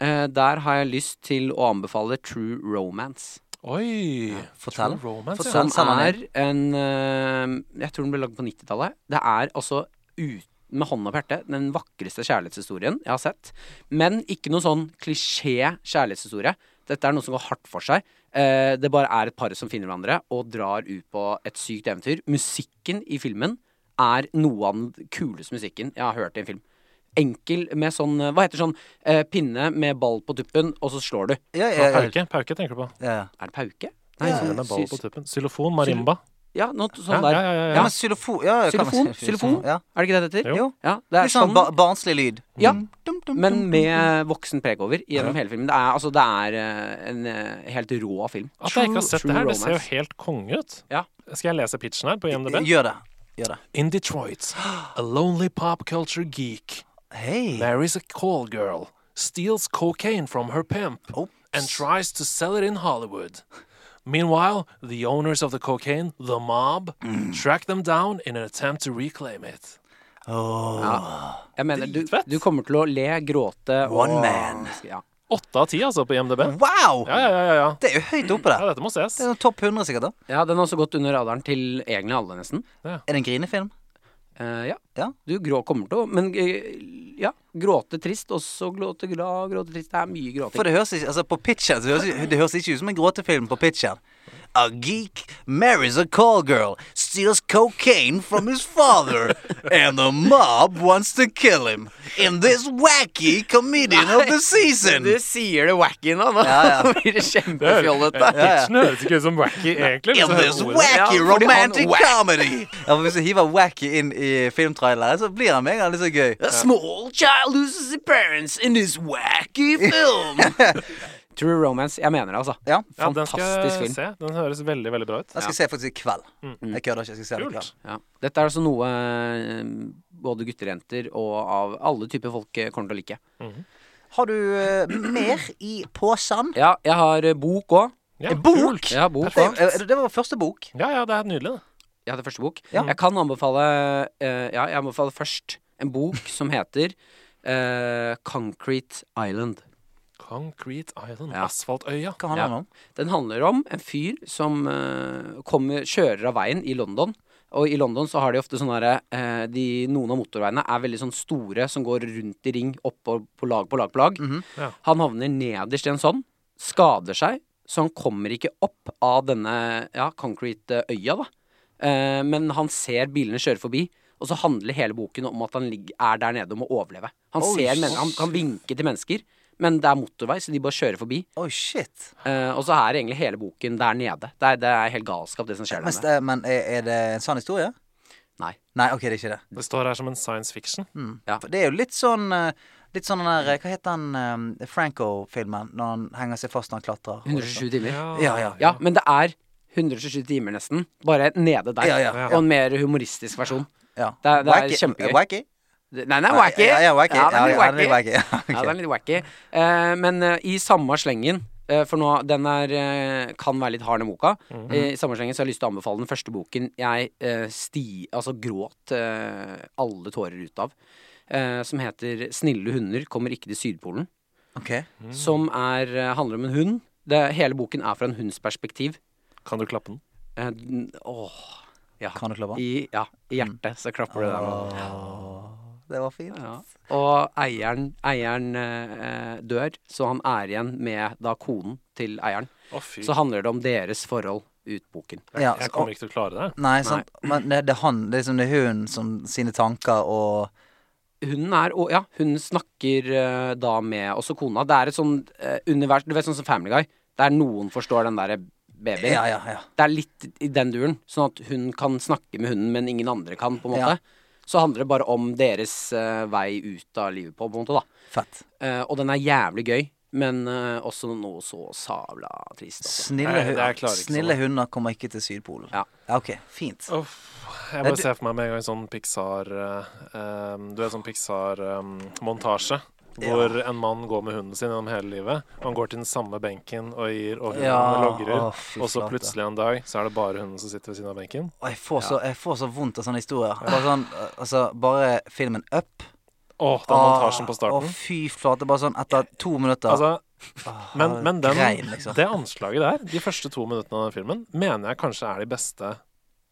D: eh, der har jeg lyst til å anbefale True Romance.
C: Oi.
A: Fortell.
C: True Romance,
A: Fortell.
C: ja.
D: Som
A: Send den
D: er en eh, Jeg tror den ble lagd på 90-tallet. Det er altså uten med hånda på hjertet den vakreste kjærlighetshistorien jeg har sett. Men ikke noe sånn klisjé kjærlighetshistorie. Dette er noe som går hardt for seg. Eh, det bare er et par som finner hverandre og drar ut på et sykt eventyr. Musikken i filmen er noe av den kuleste musikken jeg har hørt i en film. Enkel med sånn eh, Hva heter sånn eh, pinne med ball på tuppen, og så slår du.
A: Ja, ja, ja,
C: Pauke, pauke tenker du på.
A: ja.
D: Er det pauke?
A: Ja,
D: sånn-
A: ja,
C: Med ball
D: sy-
C: på tuppen. Xylofon, marimba.
D: Ja, noe t-
C: Ja,
D: sånn
C: ja,
D: der.
C: ja, ja,
A: Ja,
C: ja.
A: men xylofon ja, hva kan man si?
D: Xylofon, xylofon.
A: Ja.
D: Er det ikke det det heter?
C: Jo.
D: Ja, det er
A: Litt sånn
D: sånn
A: ba barnslig lyd.
D: Ja.
A: Dum, dum, dum,
D: men
A: dum, dum,
D: med voksen pregover gjennom hele filmen. Det er, altså, det er eh, en eh, helt rå film.
C: At jeg ikke har sett
D: True-
C: det her,
D: true
C: det ser jo
D: romance.
C: helt konge ut.
D: Ja.
C: Skal jeg lese pitchen her på
A: dum. Eh,
C: IMDb?
A: Gjør det. Gjør det.
C: In Detroit, a lonely pop culture geek
A: Hei.
C: marries a call girl, steals cocaine from her pimp,
A: Oops.
C: and tries to sell it in Hollywood. Meanwhile, the owners of the cocaine, the mob,
A: Mm.
C: track them down in an attempt to reclaim it.
A: Åh.
D: Jeg mener, du,
C: Dritfett.
D: du kommer til å le, gråte og
A: One man.
D: Ja.
C: Åtte av ti, altså, på IMDb.
A: Wow!
C: Ja, ja, ja, ja, ja.
A: Det er jo høyt oppe
C: ja
A: der.
C: dette må
A: Mm.
C: ses.
A: Det er jo topp 100 sikkert. da
D: ja, den har også gått under radaren til egentlig alle, nesten.
A: Er det en grinefilm?
D: Eh, ja.
A: Ja.
D: Du grå, kommer til å Men eh, ja, gråte trist, og så gråte glad, gråte trist. Det er mye gråting.
A: For det høres ikke, altså på pitchen så høres, Det høres ikke ut som en gråtefilm på pitchen. A geek marries a call girl, steals cocaine from his father, and the mob wants to kill him. In this wacky comedian of the season.
D: Du sier det wacky nå, da
A: Ja, ja.
D: blir det kjempefjollete.
C: Pitchen høres ikke ut som wacky, egentlig.
A: In
C: hvis jeg hører
A: this
C: ordet.
A: wacky
D: Ja, fordi han
A: romantic
D: wack.
A: comedy. Ja, for Hvis du hiver wacky inn i filmtraileren, så blir han med en gang litt så gøy.
D: A small child loses his parents in this wacky film. True Romance. Jeg mener det, altså.
A: Ja.
C: Ja, den skal
D: Fantastisk
C: jeg
D: film.
C: se. Den høres veldig, veldig bra ut.
A: Jeg skal se faktisk i kveld.
D: Mm.
A: Jeg kødder ikke. jeg skal se den i kveld
C: Kult.
D: Ja. Dette er altså noe eh, både gutter og jenter og av alle typer folk eh, kommer til å like.
A: Har du eh, mer i posen?
D: Ja, jeg har eh, bok òg.
C: Ja,
A: En bok?
C: kult.
D: Jeg har bok
A: Det,
D: også.
A: eh, det var første bok.
C: Ja, ja, det er nydelig, det.
D: Jeg hadde første bok.
A: Ja.
D: Jeg kan anbefale eh, Ja, jeg anbefaler først en bok som heter eh, Concrete Island.
C: Concrete Island.
D: Ja.
C: Asfaltøya.
A: Hva handler
D: Ja.
A: den om?
D: Den handler om en fyr som eh, kommer, kjører av veien i London. Og i London så har de ofte sånne derre eh, de- Noen av motorveiene er veldig sånn store som går rundt i ring, opp og på lag på lag på lag.
A: Mhm,
C: Ja.
D: Han havner nederst i en sånn, skader seg, så han kommer ikke opp av denne ja, concrete-øya, da. Eh, men han ser bilene kjøre forbi, og så handler hele boken om at han ligger, er der nede og må overleve. Han,
A: Oi,
D: ser, men, han kan vinke til mennesker, men det er motorvei, så de bare kjører forbi.
A: Oi, shit.
D: Eh, og så er egentlig hele boken der nede. Det er, det er helt galskap, det som skjer der
A: Men,
D: nede.
A: st- eh, men er, er det en sann historie?
D: Nei.
A: Nei, ok, det er ikke det.
C: Det står her som en science fiction.
A: Mm.
D: Ja.
A: For det er jo litt sånn eh, Litt sånn den der eh, Hva heter den eh, Franco-filmen? Når han henger seg fast når han klatrer. og-
D: 127 timer.
A: Ja, ja.
D: Ja, men det er 127 timer nesten. Bare nede der.
A: Ja, ja.
D: Og en mer humoristisk versjon.
A: Ja.
D: Det er- det er
A: Wacky?
D: kjempegøy.
A: Wacky?
D: Nei, den er wacky.
A: Ja, ja, wacky.
D: Ja, den er litt
A: Ja, den er
D: wacky.
A: litt wacky.
D: Ja,
A: Ok.
D: den er litt wacky. Eh, men eh, i samme slengen eh, for nå, Den er, eh, kan være litt hard, den boka.
A: Mhm.
D: Eh, I samme slengen så har jeg lyst til å anbefale den første boken jeg eh, sti, altså gråt eh, alle tårer ut av. Eh, som heter 'Snille hunder kommer ikke til Sydpolen'.
A: Ok.
D: Som er, eh, handler om en hund. Det, hele boken er fra en hunds perspektiv.
C: Kan du klappe den?
D: Eh, den- åh, ja.
A: Kan du Mm. klappe?
D: I, ja, I hjertet så klapper det der. nå.
A: Det var fint.
D: Ja. Og eieren, eieren eh, eh, dør, så han er igjen med da konen til eieren.
C: Å, fy.
D: Så handler det om deres forhold ut boken.
A: Ja,
C: Jeg
A: så,
C: kommer ikke til å klare det. her.
A: nei, sant. Men det, det er han. Det er liksom det er hun som sine tanker og
D: Hunden er og Ja, hun snakker eh, da med også kona. Det er et sånn eh, univers Du vet sånn som Family Guy, der noen forstår den derre babyen.
A: Ja, ja, ja.
D: Det er litt i den duren, sånn at hun kan snakke med hunden, men ingen andre kan, på en måte.
A: Ja.
D: Så handler det bare om deres eh, vei ut av livet på, på en måte, da.
A: Fett.
D: Eh, og den er jævlig gøy, men eh, også noe så sabla trist. Altså.
A: Snille,
C: Nei, det- jeg
A: hu-
C: klarer ikke
A: snille hunder kommer ikke til Sydpolen.
D: sånn. Ja.
A: Ok, fint.
C: Uff, jeg
A: Nei,
C: bare
A: du-
C: ser for meg med en gang sånn Pixar eh, um, Du vet sånn Pixar-montasje. hvor en mann går med hunden sin gjennom hele livet. Og han går til den samme benken og gir og hunden
A: Ja,
C: logrer.
A: å, fy
C: og så
A: flate.
C: plutselig en dag så er det bare hunden som sitter ved siden av benken.
A: Og jeg får, så, jeg får så vondt av sånne historier. Bare, sånn, eh, altså, bare filmen Up. Ah,
C: Å, den montasjen på starten.
A: Å, fy flate. Bare sånn etter to minutter. Ah,
C: Altså, men, men den,
A: Grein, liksom.
C: det anslaget der, de første to minuttene av den filmen, mener jeg kanskje er de beste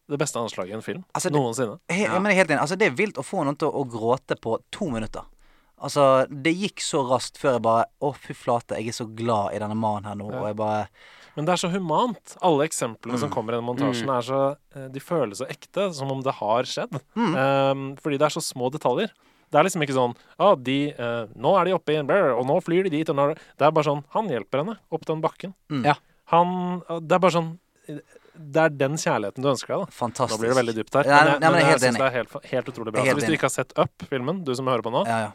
C: det beste anslaget i en film
A: Altså, det-
C: noensinne.
A: He, ja. men jeg er helt enig. Altså, det er vilt å få noen til å gråte på to minutter. Altså, det gikk så raskt før jeg bare Å, fy flate, jeg er så glad i denne mannen her nå. Og jeg bare
C: Men det er så humant. Alle eksemplene som kommer i den montasjen, er så, eh, de føles så ekte, som om det har skjedd. Eh, fordi det er så små detaljer. Det er liksom ikke sånn ah, de, eh, 'Nå er de oppe i en brr, og nå flyr de dit.' Og nå er det Det er bare sånn Han hjelper henne opp den bakken.
D: Ja.
C: Han Det er bare sånn Det er den kjærligheten du ønsker deg, da.
A: Fantastisk.
C: Nå blir det veldig dypt her.
A: Nei, nei, men jeg er helt
C: synes
A: enig.
C: det er helt, helt utrolig bra.
A: Jeg er helt
C: så hvis du
A: enig.
C: ikke har sett Up-filmen, du som hører på nå,
A: Ja, ja.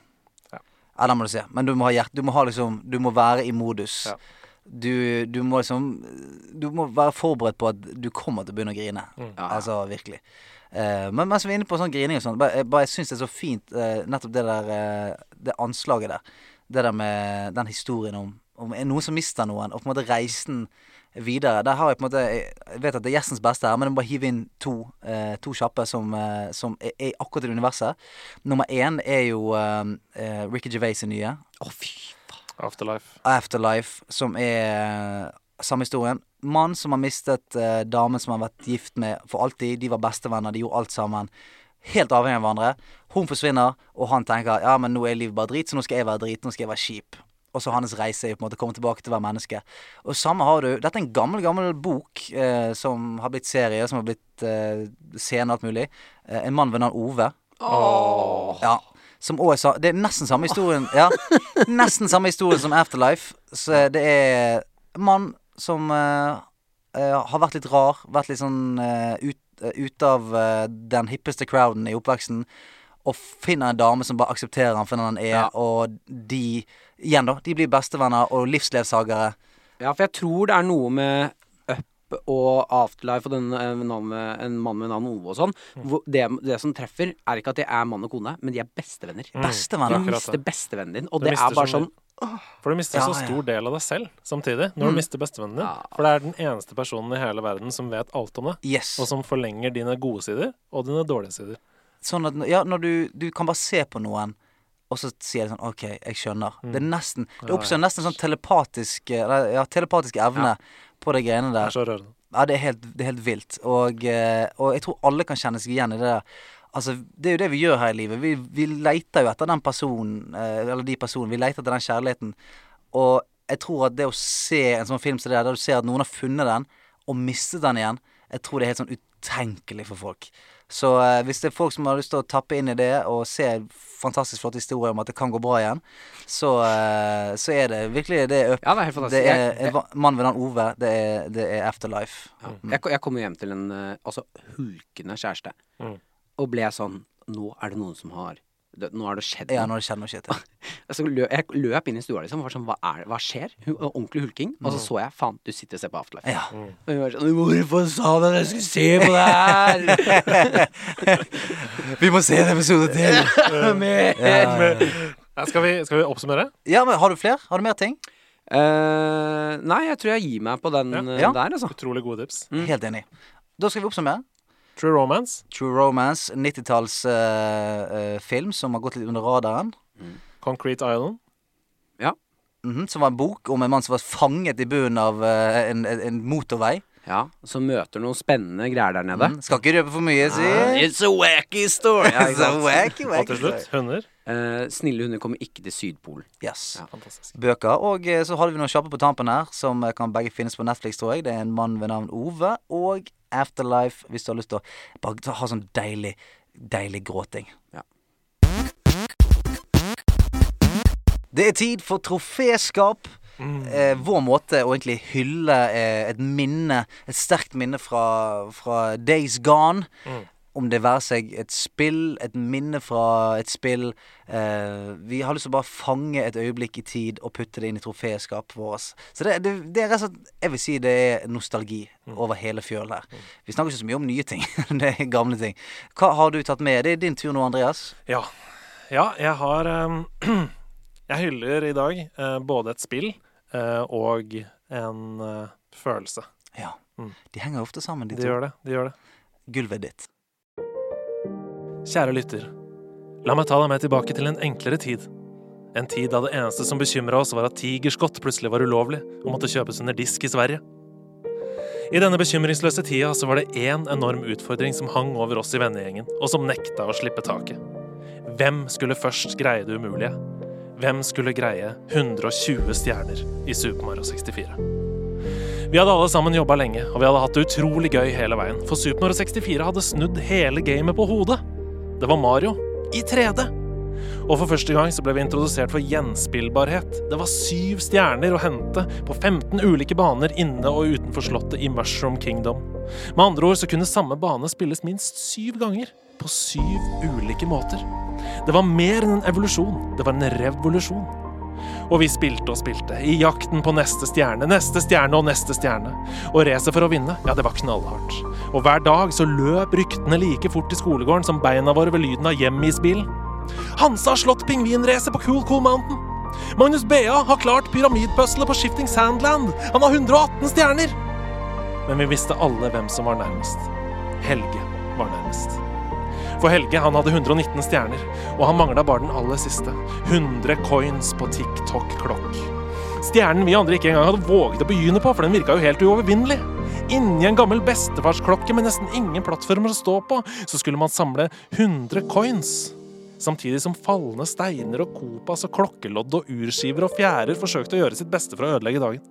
C: Ja.
A: Ja, den må du se. Men du må ha hjert... Du må ha liksom Du må være i modus.
C: Ja.
A: Du, du må liksom Du må være forberedt på at du kommer til å begynne å grine.
C: Mm.
D: Mm.
A: Altså virkelig. Eh, men mens vi er inne på sånn grining og sånn, bare, jeg bare syns det er så fint eh, nettopp det der eh, Det anslaget der. Det der med den historien om, om noen som mister noen, og på en måte reisen videre. Der har jeg på en måte Jeg vet at det er gjestens beste her, men jeg må bare hive inn to eh, To kjappe som, eh, som er, er akkurat i det universet. Nummer én er jo eh, eh, Ricky Gervais' nye.
D: Å, fy faen.
C: Afterlife.
A: Afterlife, som er eh, samme historien. Mann som har mistet eh, damen som han har vært gift med for alltid. De var bestevenner, de gjorde alt sammen. Helt avhengig av hverandre. Hun forsvinner, og han tenker ja, men nå er livet bare drit, så nå skal jeg være drit, nå skal jeg være kjip. Og så hans reise er jo på en måte å komme tilbake til å være menneske. Og samme har du Dette er en gammel, gammel bok eh, som har blitt serie, som har blitt eh, scene og alt mulig. Eh, en mann ved navn Ove. Ja. Som også er sa Det er nesten samme historien. Ja. Nesten samme historien som Afterlife. Så det er en mann som eh, eh, har vært litt rar, vært litt sånn eh, ut, eh, ut av eh, den hippeste crowden i oppveksten. Og finner en dame som bare aksepterer han for den han er,
D: Ja.
A: og de Igjen, da. De blir bestevenner og livsledsagere.
D: Ja, for jeg tror det er noe med Up og Afterlife og den, eh, navn med- en mann med navn Ove og sånn. hvor Det, det som treffer, er ikke at de er mann og kone, men de er bestevenner.
A: Mm.
D: Du
A: Bestevenner.
C: akkurat det.
D: mister bestevennen din, og
C: Du
D: det
C: mister
D: er bare
C: så mye.
D: sånn
C: For du mister
A: Ja,
C: så
A: ja. Mm.
C: stor del av deg selv samtidig når du mister bestevennen din.
D: Ja.
C: For det er den eneste personen i hele verden som vet alt om det,
A: Yes.
C: og som forlenger dine gode sider og dine dårlige sider.
A: Sånn at ja, når du, du kan bare se på noen, og så sier det sånn OK, jeg skjønner. Det er nesten Det oppstår nesten sånn telepatisk eh, eller, Ja, telepatisk evne på de greiene
C: Det
A: der.
C: er så rørende.
A: Ja, det er helt, det er helt vilt. Og, eh, og jeg tror alle kan kjenne seg igjen i det der. Altså, Det er jo det vi gjør her i livet. Vi, vi leter jo etter den personen, eh, eller de personene. Vi leter etter den kjærligheten. Og jeg tror at det å se en sånn film som det der, der du ser at noen har funnet den, og mistet den igjen, jeg tror det er helt sånn utenkelig for folk. Så eh, hvis det er folk som har lyst til å tappe inn i det, og se en fantastisk flott historie om at det kan gå bra igjen, så, eh, så er det virkelig det er up.
D: Ja, det er helt fantastisk.
A: Det er
D: Jeg-
A: en va- mann ved navn Ove. Det er, det er Afterlife.
D: Ja. Jeg, ko- jeg kom jo hjem til en eh, altså, hulkende kjæreste,
C: Mm.
D: og ble sånn Nå er det noen som har det, Nå har det skjedd
A: Ja,
D: noe.
A: når det skjedde noe shit. ja.
D: Altså, lø, jeg løp inn i stua, liksom. og Var sånn, hva, er, det- hva skjer? Hu- Ordentlig hulking. Og så så jeg faen, du sitter og ser på Afterlife.
A: Ja.
D: Og hun var sånn Hvorfor sa du at jeg skulle se på det her?
A: Vi må se en episode til!
D: Med-
C: Ja, Skal vi, skal vi oppsummere?
A: Ja, men Har du flere? Har du mer ting?
D: Eh, nei, jeg tror jeg gir meg på den eh,
A: Ja.
D: der, altså.
C: Utrolig gode tips.
A: Helt enig. Da skal vi oppsummere.
C: True Romance
A: True Romance, 90-tallsfilm som har gått litt under radaren.
C: Concrete Island.
D: Ja.
A: Mhm, som var en bok om en mann som var fanget i bunnen av eh, en, en- en motorvei.
D: ja. Så møter noen spennende greier der nede.
A: Skal ikke røpe for mye, si.
D: It's a wacky story. Ah, Ja, ikke
A: Så
D: sant?
A: wacky,
C: Og til
A: wacky.
C: slutt Hunder.
D: Eh, snille hunder kommer ikke til Sydpolen.
A: Yes.
C: Fantastisk.
A: bøker. Og eh, så hadde vi noen kjappe på tampen her, som eh, kan begge finnes på Netflix, tror jeg. Det er en mann ved navn Ove, og Afterlife, hvis du har lyst til å bare ta- ha sånn deilig, deilig gråting.
D: Ja.
A: Det er tid for troféskap.
C: Mm.
A: Eh, vår måte å egentlig hylle eh, et minne, et sterkt minne fra, fra Days Gone.
C: Mm.
A: Om det være seg et spill, et minne fra et spill eh, Vi har lyst til å bare fange et øyeblikk i tid og putte det inn i troféskapet vårt. Så det, det, det er rett og slett Jeg vil si det er nostalgi
C: Mm.
A: over hele fjølen her. Vi snakker ikke så mye om nye ting. det er gamle ting. Hva har du tatt med? Det er din tur nå, Andreas.
C: Ja. ja, jeg har ehm, Jeg hyller i dag eh, både et spill eh, og en eh, følelse.
A: Ja.
C: Mm.
A: De henger ofte sammen, de
C: De
A: to.
C: gjør det. De gjør det.
A: Gulvet ditt.
C: Kjære lytter. La meg ta deg med tilbake til en enklere tid. En tid da det eneste som bekymra oss, var at tigerskott plutselig var ulovlig og måtte kjøpes under disk i Sverige. I denne bekymringsløse tida så var det én enorm utfordring som hang over oss i vennegjengen, og som nekta å slippe taket. Hvem skulle først greie det umulige? Hvem skulle greie 120 stjerner i Super Mario 64? Vi hadde alle sammen jobba lenge, og vi hadde hatt det utrolig gøy hele veien, for Super Mario 64 hadde snudd hele gamet på hodet. Det var Mario i 3D. Og for første gang så ble vi introdusert for gjenspillbarhet. Det var syv stjerner å hente på 15 ulike baner inne og utenfor slottet i Mushroom Kingdom. Med andre ord så kunne samme bane spilles minst syv ganger på syv ulike måter. Det var mer enn en evolusjon, det var en revolusjon. Og vi spilte og spilte, i jakten på neste stjerne, neste stjerne og neste stjerne. Og racet for å vinne, ja, det var knallhardt. Og hver dag så løp ryktene like fort i skolegården som beina våre ved lyden av hjemmeisbilen. Hansa har slått pingvinracet på Cool Cool Mountain. Magnus Bea har klart pyramidpuzzlet på Shifting Sandland. Han har 118 stjerner! Men vi visste alle hvem som var nærmest. Helge var nærmest. For Helge han hadde 119 stjerner, og han mangla bare den aller siste. 100 coins på TikTok-klokk. Stjernen vi andre ikke engang hadde våget å begynne på, for den virka jo helt uovervinnelig. Inni en gammel bestefarsklokke med nesten ingen plattformer å stå på, så skulle man samle 100 coins. Samtidig som falne steiner og kopas og klokkelodd og urskiver og fjærer forsøkte å gjøre sitt beste for å ødelegge dagen.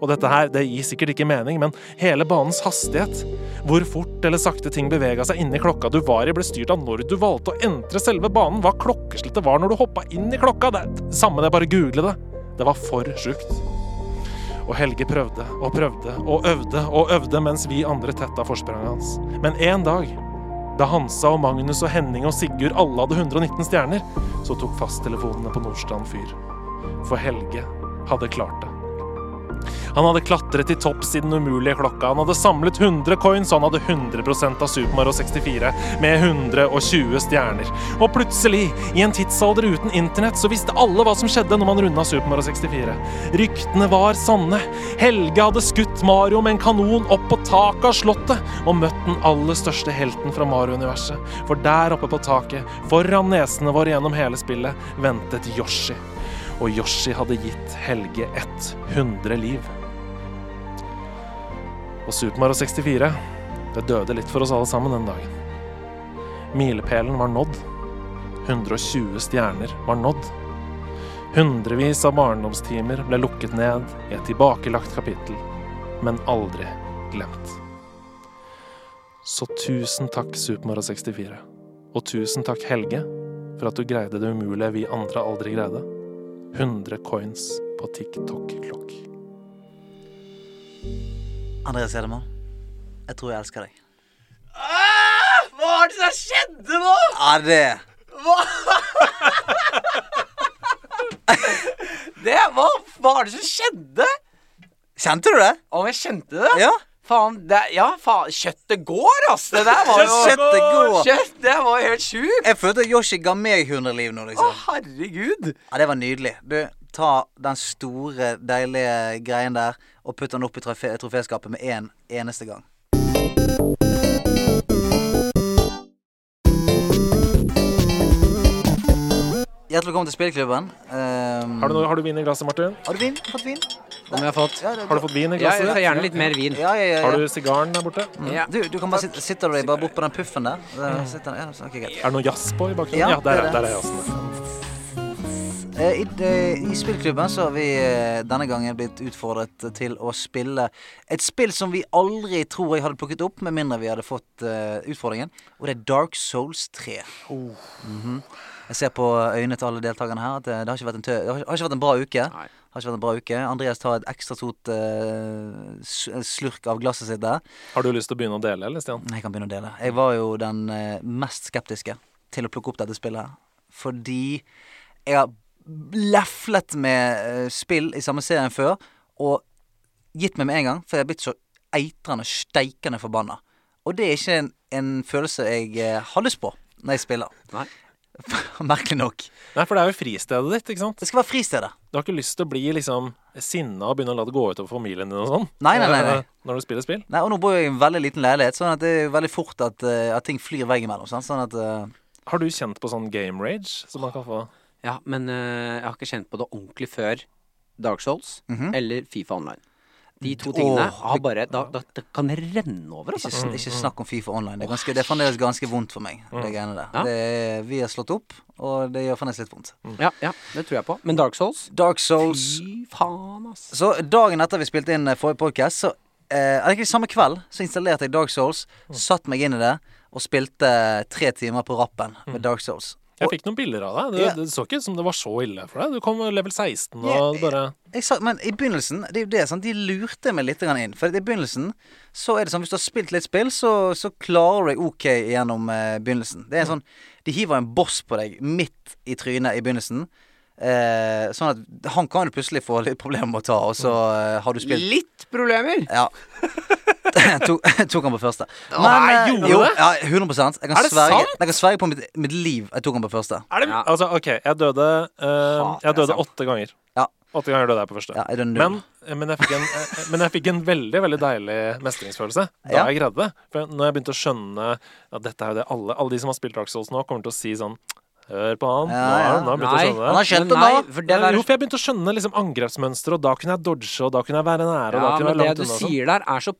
C: Og dette her, det gir sikkert ikke mening, men hele banens hastighet, hvor fort eller sakte ting bevega seg inni klokka du var i, ble styrt av når du valgte å entre selve banen, hva klokkeslettet var når du hoppa inn i klokka, det samme det, bare google det. Det var for sjukt. Og Helge prøvde og prøvde og øvde og øvde mens vi andre tetta forspranget hans. Men en dag da Hansa og Magnus og Henning og Sigurd alle hadde 119 stjerner, så tok fasttelefonene på Nordstrand fyr. For Helge hadde klart det. Han hadde klatret til topps i den umulige klokka. Han hadde samlet 100 coins, og han hadde 100 av Super Mario 64 med 120 stjerner. Og plutselig, i en tidsalder uten internett, så visste alle hva som skjedde når man runda Super Mario 64. Ryktene var sanne. Helge hadde skutt Mario med en kanon opp på taket av slottet og møtt den aller største helten fra Mario-universet. For der oppe på taket, foran nesene våre gjennom hele spillet, ventet Yoshi og Yoshi hadde gitt Helge 100 liv. Og Super Mario 64, det døde litt for oss alle sammen den dagen. Milepælen var nådd. 120 stjerner var nådd. Hundrevis av barndomstimer ble lukket ned i et tilbakelagt kapittel, men aldri glemt. Så tusen takk, Super Mario 64. Og tusen takk, Helge, for at du greide det umulige vi andre aldri greide. 100 coins på TikTok-klokk.
A: Andreas Gjedemann, jeg tror jeg elsker deg.
B: Hva er det som skjedde nå?
A: Ja, det
B: Det, hva, hva er det som skjedde?
A: Kjente du det?
B: Å, jeg kjente det.
A: Ja.
B: Faen, det, ja, faen, kjøttet går, ass. Det der var jo
A: Kjøttet går.
B: Kjøtt, det var jo helt sjukt.
A: Jeg følte at Yoshi ga meg 100 liv nå,
B: Å,
A: liksom.
B: herregud.
A: Ja, det var nydelig. Du, ta den store, deilige greien der og putt den opp i trofe troféskapet med en eneste gang. Hjertelig velkommen til spillklubben. Um,
C: Har du, noe- har du vin i glasset, Martin?
A: har du vin? Fått vin?
D: Om jeg har fått
A: Ja, det,
C: Har du fått vin i
D: Ja, jeg
C: glasset?
D: tar gjerne litt mer vin.
A: ja, ja, ja, ja.
C: Har du sigaren der borte?
B: Mm.
D: Ja.
A: Du, du kan bare sitte, sitter du deg bare bort på den puffen der. Der sitter den. Ja, så- ok, greit.
C: Er det noe jazz på i bakgrunnen?
A: Ja,
C: Ja, der,
A: det er
C: er- der er jazzen.
A: Eh, I, eh, I spillklubben så har vi eh, denne gangen blitt utfordret til å spille et spill som vi aldri tror jeg hadde plukket opp, med mindre vi hadde fått eh, utfordringen, og det er Dark Souls 3. Mhm. Jeg ser på øynene til alle deltakerne her at eh, det har ikke vært en, tø det har ikke- har ikke vært en bra uke.
D: Nei.
A: Har ikke vært en bra uke. Andreas tar et ekstra stort eh, s- slurk av glasset sitt der.
C: Har du lyst til å begynne å dele, eller, Stian?
A: Jeg kan begynne å dele. Jeg var jo den eh, mest skeptiske til å plukke opp dette spillet her. Fordi jeg har leflet med eh, spill i samme serien før, og gitt meg med en gang, for jeg er blitt så eitrende, steikende forbanna. Og det er ikke en, en følelse jeg eh, har lyst på når jeg spiller.
D: Nei.
A: Merkelig nok.
C: Nei, for det er jo fristedet ditt, ikke sant?
A: Det skal være fristedet.
C: Du har ikke lyst til å bli liksom sinna og begynne å la det gå utover familien din og sånn?
A: Nei, nei, nei, nei.
C: Eh, Når du spiller spill?
A: Nei, og nå bor jeg i en veldig liten leilighet, sånn at det er jo veldig fort at, eh, at ting flyr veggimellom. sant? Sånn at eh,
C: Har du kjent på sånn game rage som man kan få?
D: Ja, men eh, jeg har ikke kjent på det ordentlig før Dark Souls eller Fifa Online. de to tingene
A: Mhm. Åh,
D: har bare da, da, da kan det renne over,
A: Ikke,
D: altså.
A: sn- ikke snakk om Fifa online. Det er, ganske, det er fremdeles ganske vondt for meg. Det greiene der.
D: Mm. Ja.
A: Det er, vi har slått opp, og det gjør fremdeles litt vondt.
D: Ja, ja, det tror jeg på. Men Dark Souls
A: Dark Souls.
D: Fy faen, ass.
A: Så dagen etter vi spilte inn eh, forrige podcast så eh, eller ikke samme kveld, så installerte jeg Dark Souls,
D: Mm.
A: satt meg inn i det, og spilte eh, tre timer på rappen
D: Mm.
A: med Dark Souls.
C: Jeg fikk noen bilder av deg. Det,
A: Ja.
C: det så ikke ut som det var så ille for deg. Du kom level 16 og bare
A: Jeg sa, men i begynnelsen det er jo det, sant? De lurte meg litt grann inn. For i begynnelsen så er det sånn hvis du har spilt litt spill, så, så klarer du deg OK gjennom eh, begynnelsen. Det er sånn De hiver en boss på deg midt i trynet i begynnelsen. Eh, sånn at han kan jo plutselig få litt problemer med å ta, og så eh, har du spilt
D: Litt problemer.
A: Ja. tok, tok han på første.
C: nei,
A: eh,
C: gjorde
A: jo,
C: du det?
A: ja, 100 Jeg kan,
C: Er det
A: sverge,
C: sant?
A: jeg kan sverge på mitt, mitt liv jeg tok han på første.
C: er det,
D: Ja.
C: Altså, OK, jeg døde eh,
D: Faen, det er
C: Jeg døde
D: sant.
C: åtte ganger.
A: Ja.
C: Åtte ganger døde jeg på første.
A: Ja, er det null?
C: Men, men, jeg fikk en, eh, men jeg fikk en veldig veldig deilig mestringsfølelse da
A: Ja.
C: jeg greide det. For når jeg begynte å skjønne at dette er jo det alle Alle de som har spilt Dark Souls nå, kommer til å si sånn Hør på han.
A: Ja, ja.
C: Nå har han begynt å skjønne
A: Han
C: det. Eh,
A: har skjønt
D: Men
A: det nå.
D: nei, For det der,
C: jo, for jeg begynte å skjønne liksom angrepsmønstre, og da kunne jeg dodge, og da kunne jeg være nære, og da kunne
D: ja,
C: jeg
D: men
C: være
D: det
C: langt
D: du
C: unna. og sånn.
D: sier der, er så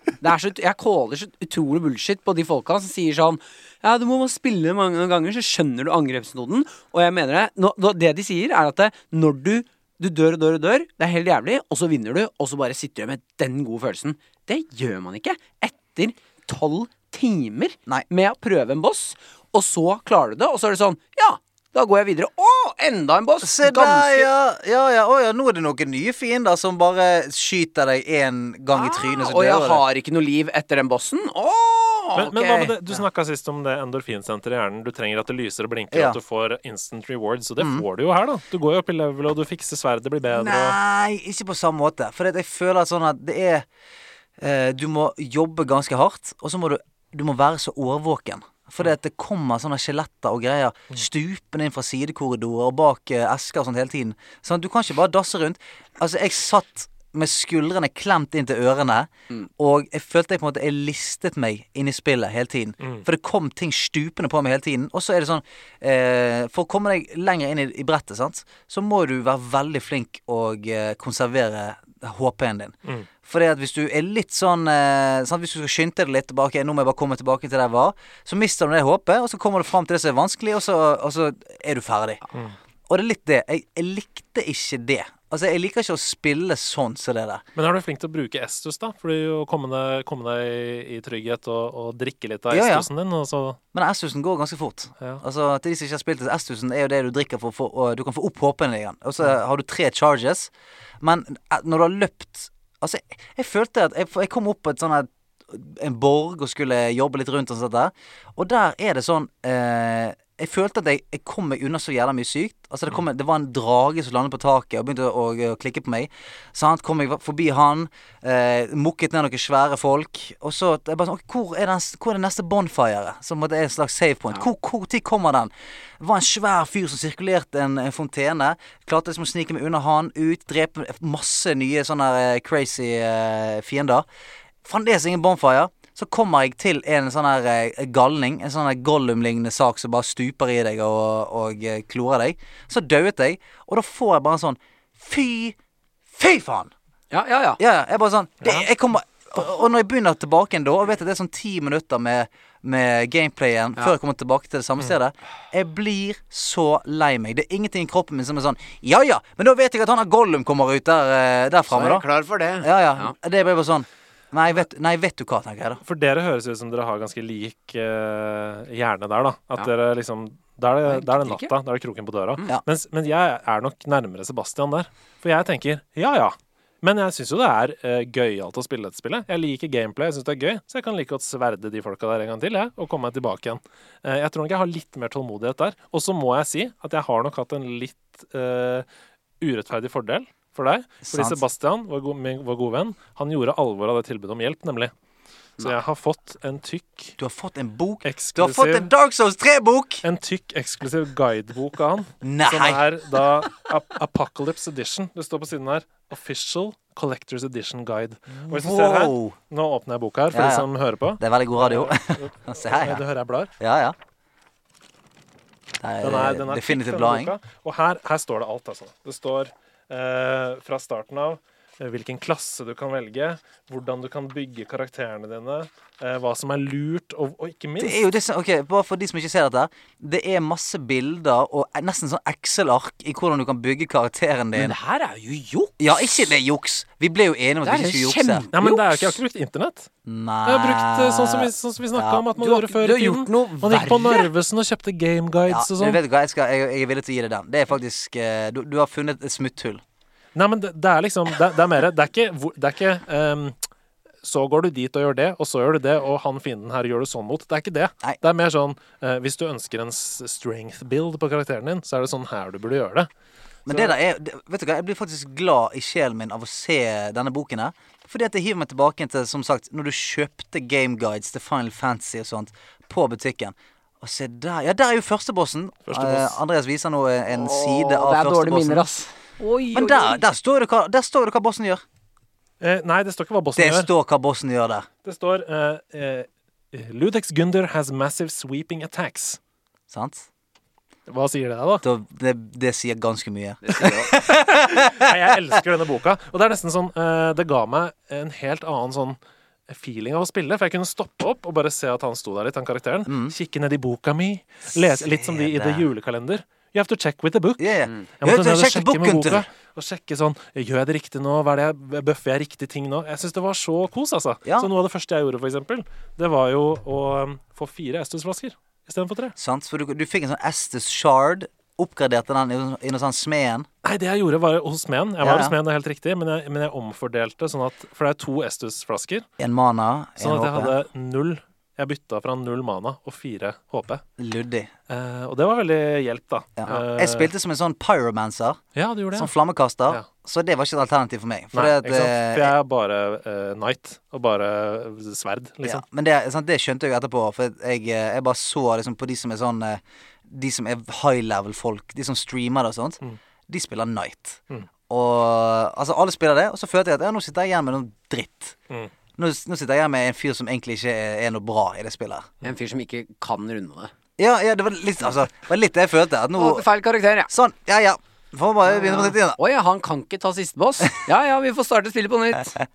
D: piss. Det er så, ut- jeg caller så utrolig bullshit på de folka som sier sånn Ja, du må bare spille mange ganger, så skjønner du angrepsnoden. Og jeg mener det. Nå, nå, det de sier, er at det, når du, du dør og dør og dør, det er helt jævlig, og så vinner du, og så bare sitter du med den gode følelsen. Det gjør man ikke etter tolv timer
A: Nei.
D: med å prøve en boss, og så klarer du det, og så er det sånn Ja, da går jeg videre. Å, enda en boss!
A: Se der,
D: Ganske-
A: ja. Ja, ja. Å, ja. Nå er det noen nye fiender som bare skyter deg én gang i trynet.
D: Ah,
A: Så
D: og jeg
A: dør du.
D: har ikke noe liv etter den bossen? Åh,
C: Men,
D: ok.
C: men hva med det? Du snakka sist om det endorfinsenteret i hjernen. Du trenger at det lyser og blinker,
A: Ja. Mm.
C: og at du får instant rewards. Og det får du jo her, da. Du går jo opp i level, og du fikser sverdet, det blir bedre. og-
A: Nei, ikke på samme måte. For det, at jeg føler at sånn at det er eh, Du må jobbe ganske hardt, og så må du, du må være så årvåken. For det, at det kommer sånne skjeletter og greier stupende inn fra sidekorridorer og bak eh, esker og sånt hele tiden. Sånn, du kan ikke bare dasse rundt. Altså, jeg satt med skuldrene klemt inn til ørene, og jeg følte jeg på en måte Jeg listet meg inn i spillet hele tiden. For det kom ting stupende på meg hele tiden. Og så er det sånn eh, For å komme deg lenger inn i, i brettet, sant, så må du være veldig flink og eh, konservere HP-en din. Fordi at hvis du er litt sånn eh, sant? Hvis du skal skynde deg litt tilbake, nå må jeg bare komme tilbake til der jeg var, så mister du det håpet, og så kommer du fram til det som er vanskelig, og så, og så er du ferdig. Og det er litt det. Jeg, jeg likte ikke det. Altså, jeg liker ikke å spille sånn som det der.
C: Men er du flink til å bruke estus, da? For det er jo å komme deg, komme deg i, i trygghet og, og drikke litt av
A: Ja, ja.
C: estusen din, og så
A: Men S-husen går ganske fort.
C: Ja.
A: Altså, til de som ikke har spilt det, S-husen er jo det du drikker for, å få- og du kan få opp håpen igjen. Og så har du tre charges. Men eh, når du har løpt Altså, jeg, jeg følte at jeg, jeg kom opp på et sånn her en borg og skulle jobbe litt rundt og sånt der. Og der er det sånn eh, Jeg følte at jeg, jeg kom meg unna så jævla mye sykt. Altså det, kom, en- det var en drage som landet på taket og begynte å, å, å klikke på meg. Sant? Kom jeg forbi han, eh, mukket ned noen svære folk. Og så jeg bare sånn «Ok, hvor, er den, hvor er det neste bonfire? Som er en slags save point. Hvor, hvor tid kommer den? Det var en svær fyr som sirkulerte en, en fontene. Klarte liksom å snike meg unna han, ut, drepe masse nye sånne eh, crazy eh, fiender. Fremdeles ingen bonfire. Så kommer jeg til en sånn her eh, galning, en sånn her Gollum-lignende sak som bare stuper i deg og, og eh, klorer deg. Så dauet jeg, og da får jeg bare en sånn fy Fy faen!
D: Ja, ja, ja.
A: Ja, ja, jeg bare sånn det, jeg kommer, og, og når jeg begynner tilbake igjen da, og vet at det er sånn ti minutter med, med gameplay igjen før jeg kommer tilbake til det samme stedet, jeg blir så lei meg. Det er ingenting i kroppen min som er sånn Ja ja, men da vet jeg at han har Gollum kommer ut der, eh, der
B: Så er
A: framme,
B: jeg
A: da.
B: klar for det.
A: Ja, ja. Det ble bare sånn Nei, vet, nei, vet du hva, tenker jeg da.
C: For dere høres ut som dere har ganske lik eh, hjerne der, da. At
D: Ja.
C: dere liksom Da er det,
D: Nei,
C: da er det
D: ikke. Mm.
C: natta. Da er det kroken på døra.
A: Ja.
C: Mens, men jeg er nok nærmere Sebastian der. For jeg tenker ja, ja. Men jeg syns jo det er uh, gøyalt å spille dette spillet. Jeg liker gameplay, jeg syns det er gøy. Så jeg kan like godt sverde de folka der en gang til, jeg, og komme meg tilbake igjen. Eh, jeg tror nok jeg har litt mer tålmodighet der. Og så må jeg si at jeg har nok hatt en litt eh, urettferdig fordel for deg. Fordi
A: Sant.
C: Sebastian, vår, go min, vår gode venn, han gjorde alvor av det tilbudet om hjelp, nemlig. Så jeg har fått en tykk
A: Du har fått en bok. Du har fått
C: eksklusiv
A: en Dark Souls 3-bok!
C: en tykk eksklusiv guidebok av han, som
A: Nei!
C: er da Ap Apocalypse Edition. Det står på siden her. Official Collectors Edition Guide. Og hvis du ser her,
A: Wow.
C: Nå åpner jeg boka her for
A: Ja, ja.
C: de som hører på.
A: Det er veldig god radio. Se her,
C: Du
A: ja.
C: hører jeg blar.
A: Ja, ja.
C: Den er, den er tykk,
A: definitivt
C: denne
A: blading.
C: boka. Og her, her står det alt, altså. Det står eh, fra starten av eh, hvilken klasse du kan velge, hvordan du kan bygge karakterene dine, eh, hva som er lurt, og, og ikke
A: Det
C: minst
A: er jo det som, ok, Bare for de som ikke ser dette. her Det er masse bilder og e- nesten sånn Excel-ark i hvordan du kan bygge karakteren
D: Men
A: din.
D: det her er jo juks!
A: Ja, ikke det er juks! Vi ble jo enige om at
D: Det
A: vi
D: er
A: ikke
D: jo
A: skulle jukse.
C: Nei, men det er jo
D: kjempejuks!
C: ikke, Jeg har ikke brukt internett.
A: Nei
C: Jeg har brukt eh, sånn som vi, sånn som vi snakka
A: Ja.
C: om at man
D: Ah, Du har-
C: gjorde før
D: du
C: i
D: har gjort
C: tiden.
D: noe
C: Man gikk på
D: verre.
C: Narvesen og kjøpte game
A: ja,
C: guides og
A: du
C: sånn.
A: vet hva, jeg, skal, jeg, jeg er villig til å gi deg den. Det er faktisk eh, Du, du har funnet et smutthull.
C: Nei, men det, det er liksom Det, det er mer Det er ikke, hvor- det er ikke ehm, så går du dit og gjør det, og så gjør du det, og han fienden her gjør du sånn mot. Det er ikke det.
A: Nei.
C: Det er mer sånn eh, Hvis du ønsker en s- strength build på karakteren din, så er det sånn her du burde gjøre det.
A: Men det der er det, Vet du hva, jeg blir faktisk glad i sjelen min av å se denne boken her. Fordi at det hiver meg tilbake til, som sagt, når du kjøpte Game Guides til Final Fantasy og sånt på butikken. Og se der. Ja, der er jo førstebossen.
C: Første boss.
A: Eh, Andreas viser nå en
D: Åh,
A: side av
D: det er dårlige
A: førstebossen.
D: minner, ass.
A: Men der, der, står det hva, der står det hva bossen gjør.
C: Eh, nei, det står ikke hva bossen
A: Det
C: gjør.
A: står hva bossen gjør der.
C: det står eh, eh, Ludex Gunder has massive sweeping attacks.
A: Sant?
C: Hva sier det deg, da?
A: Da, det, det sier ganske mye.
D: Det sier jeg også.
C: Nei, jeg elsker denne boka. Og det er nesten sånn eh, Det ga meg en helt annen sånn feeling av å spille. For jeg kunne stoppe opp og bare se at han sto der litt, han karakteren.
A: Mm.
C: Kikke ned i boka mi. Lese litt som de i The
A: det.
C: Julekalender. You have to check with the book.
A: Yeah.
C: Jeg måtte ned og
A: Sjekk
C: sjekke med
A: boken,
C: boka
A: Gunter.
C: og sjekke sånn Gjør jeg det riktig nå? Hva er det jeg, Bøffer jeg riktig ting nå? Jeg syns det var så kos, altså.
A: Ja.
C: Så noe av det første jeg gjorde, for eksempel, det var jo å um, få fire Estus-flasker istedenfor tre.
A: Sant? For du, du fikk en sånn Estus Shard. Oppgraderte den i noe sånn- i noe sånn smeden.
C: Nei, det jeg gjorde var hos Smeden. Jeg
A: Ja,
C: var
A: ja.
C: hos Smeden, det er helt riktig, men jeg, men jeg omfordelte sånn at For det er to Estus-flasker.
A: En mana. En
C: Sånn at jeg
A: HP.
C: hadde null Jeg bytta fra null mana og fire HP.
A: Luddig.
C: Eh, og det var veldig hjelp, da.
A: Ja.
C: Eh,
A: Jeg spilte som en sånn pyromancer,
C: Ja, du gjorde det.
A: som
C: ja.
A: flammekaster,
C: Ja.
A: så det var ikke et alternativ for meg. For
C: Nei,
A: det, at,
C: ikke sant?
A: eh,
C: For jeg er bare eh, knight og bare sverd, liksom.
A: ja, men det, sant, det skjønte jeg jo etterpå, for jeg, eh, jeg bare så liksom, på de som er sånn eh, De som er high level-folk, de som streamer det og sånt,
C: Mm.
A: de spiller Night. Og altså, alle spiller det, og så følte jeg at ja, nå sitter jeg igjen med noe dritt.
C: Mm.
A: Nå, nå sitter jeg igjen med en fyr som egentlig ikke er, er noe bra i det spillet. her.
D: En fyr som ikke kan runde det.
A: Ja, ja, det var litt altså, det var litt det jeg følte. At nå
D: Å, feil karakter, ja.
A: Sånn, ja ja. Får bare
C: Ah.
A: begynne på nytt igjen, da.
D: Å ja, han kan ikke ta siste boss. Ja ja, vi får starte spillet på nytt.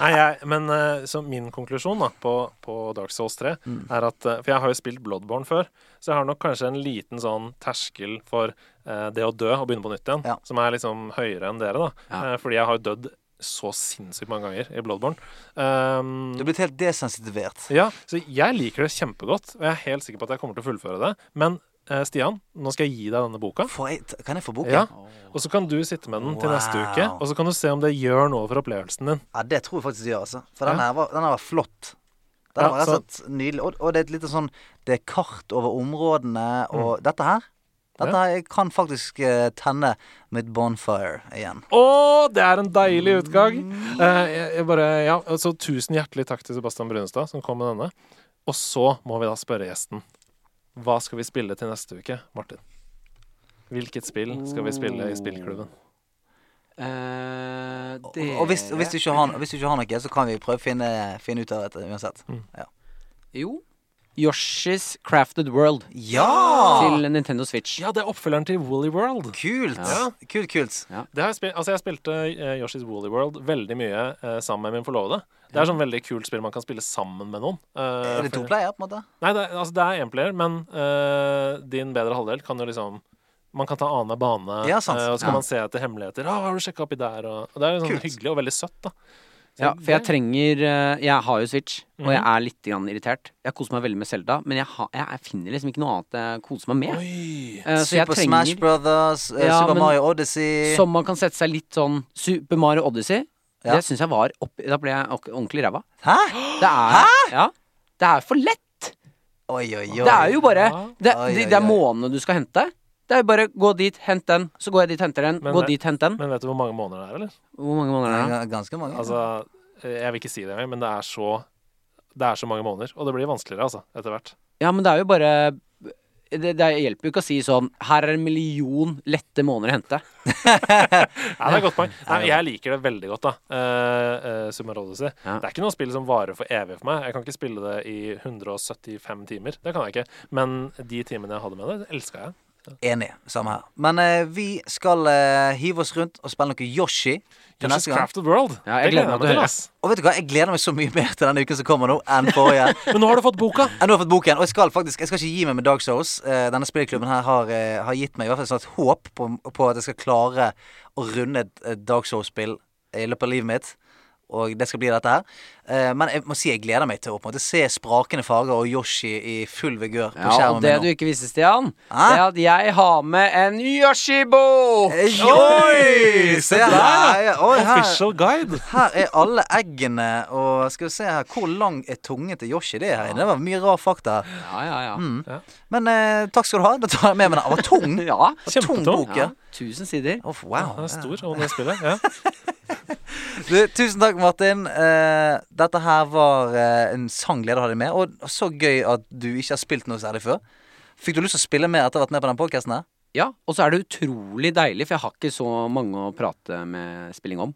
C: Nei, jeg, men eh, så min konklusjon da, på, på Dark Souls 3
A: Mm.
C: er at eh, For jeg har jo spilt Bloodborne før, så jeg har nok kanskje en liten sånn terskel for eh, det å dø og begynne på nytt igjen,
A: Ja.
C: som er liksom høyere enn dere, da.
D: Ja.
C: Eh, fordi jeg har jo dødd så sinnssykt mange ganger i Bloodborne. Um,
A: Du er blitt helt desensitivert.
C: Ja, så jeg liker det kjempegodt, og jeg er helt sikker på at jeg kommer til å fullføre det. Men eh, Stian, nå skal jeg gi deg denne boka.
A: Får jeg, kan jeg få boken?
C: Ja. Og så kan du sitte med den til neste
A: Wow.
C: uke, og så kan du se om det gjør noe for opplevelsen din.
A: Ja, det tror jeg faktisk det gjør, altså. For
C: Ja.
A: den her var, den her var flott. Den
C: Ja,
A: var rett og slett nydelig. Og, og det er et lite sånn Det er kart over områdene og dette her. Dette
C: Mm. Ja.
A: her kan faktisk eh, tenne mitt bonfire igjen.
C: Å, det er en deilig utgang! Eh, jeg, jeg bare, ja, altså, tusen hjertelig takk til Sebastian Brunestad, som kom med denne. Og så må vi da spørre gjesten. Hva skal vi spille til neste uke, Martin? Hvilket spill skal vi spille i spillklubben?
D: Eh,
A: Og,
D: det-
A: og, hvis, og hvis, du ikke har, hvis du ikke har noe, så kan vi prøve å finne, finne ut av dette uansett.
C: Mm.
A: Ja!
D: Jo. Yoshi's Crafted World
A: ja!
D: til Nintendo Switch.
C: Ja, det er oppfølgeren til Woolly World.
A: Kult!
C: Ja.
A: Kult, kult.
C: Det har jeg, spil altså, jeg spilte eh, Yoshi's Woolly World veldig mye eh, sammen med min forlovede. Det er sånn veldig kult spill man kan spille sammen med noen. Eh,
A: Er det to
C: for-
A: player, på en måte?
C: Nei, det, er- altså, det er énplayer, men eh, din bedre halvdel kan jo liksom Man kan ta annenhver bane,
A: Ja, sant.
C: eh, og så kan
A: Ja.
C: man se etter hemmeligheter. Ah, 'Har du sjekka oppi der?' Og, og det er jo sånn
A: Kult.
C: hyggelig og veldig søtt, da. Så
D: Ja, for jeg
C: det-
D: trenger eh, Jeg har jo Switch, og jeg
C: Mhm.
D: er litt grann irritert. Jeg koser meg veldig med Selda, men jeg, har- jeg finner liksom ikke noe annet jeg koser meg med.
C: Oi!
D: Eh, så jeg
A: Super Smash
D: trenger
A: Brothers, eh,
D: Ja,
A: Super
D: men-
A: Mario Odyssey
D: Som man kan sette seg litt sånn Super Mario Odyssey.
A: Ja.
D: Det syns jeg var opp, Da ble jeg ok- ordentlig ræva.
A: Hæ?
D: Det er, ja, det er for lett!
A: Oi, oi, oi.
D: Det er jo bare Det,
A: Oi, oi,
D: de, det er
A: oi.
D: månedene du skal hente. Det er jo bare gå dit, hent den. Så går jeg dit, henter den.
C: Men det-
D: gå dit, hent den.
C: Men vet du hvor mange måneder det er, eller?
D: Hvor mange måneder er det? da?
A: G- Ganske mange.
C: Altså, eh, jeg vil ikke si det engang, men det er så det er så mange måneder, og det blir vanskeligere altså, etter hvert.
D: Ja, men det er jo bare det, det hjelper jo ikke å si sånn Her er en million lette måneder å hente.
C: Ja, det er et godt poeng. Nei, jeg liker det veldig godt, da. Uh, Summer Odyssey.
D: Ja.
C: Det er ikke noe spill som varer for evig for meg. Jeg kan ikke spille det i 175 timer. Det kan jeg ikke. Men de timene jeg hadde med det, elska jeg.
A: Enig. Samme her. Men eh, vi skal eh, hive oss rundt og spille noe Yoshi til
C: Yoshi's
A: neste gang.
C: Crafted World.
D: Ja,
C: Det
D: jeg gleder meg til å høre.
C: ass.
A: Og vet du hva, jeg gleder meg så mye mer til denne uken som kommer nå, enn forrige.
C: Men nå har du fått boka.
A: Jeg nå har jeg fått boken, og jeg skal faktisk Jeg skal ikke gi meg med Dark Souls. Eh, denne spillklubben her har, eh, har gitt meg i hvert fall et sånt håp på, på at jeg skal klare å runde et, et Dark Souls-spill i løpet av livet mitt. Og det skal bli dette her. Eh, men jeg må si jeg gleder meg til å på en måte se sprakende farger og Yoshi i full vigør på
D: Ja, og
A: skjermen
D: det
A: min.
D: du
A: nå.
D: ikke visste, Stian,
A: Hæ?
D: det er at jeg har med en Yoshibo!
A: Eh, Oi! Se her. Oi, her.
C: Official guide.
A: Her er alle eggene, og skal vi se her Hvor lang er tungen til Yoshi? Det er her inne. Det var mye rar fakta. her.
D: Ja, ja, ja.
A: mm. Men eh, takk skal du ha. Da tar jeg med meg den. Den var tung.
D: Ja,
A: Tung
C: Kjempetung.
A: bok,
D: ja.
A: ja.
D: Tusen sider.
A: Å, wow.
C: Den er stor, og det spillet. Ja.
A: Du, tusen takk, Martin. Eh, dette her var eh, en sang glede å ha deg med. Og så gøy at du ikke har spilt noe særlig før. Fikk du lyst til å spille mer etter å ha vært med på den podkasten her?
D: Ja, og så er det utrolig deilig, for jeg har ikke så mange å prate med spilling om.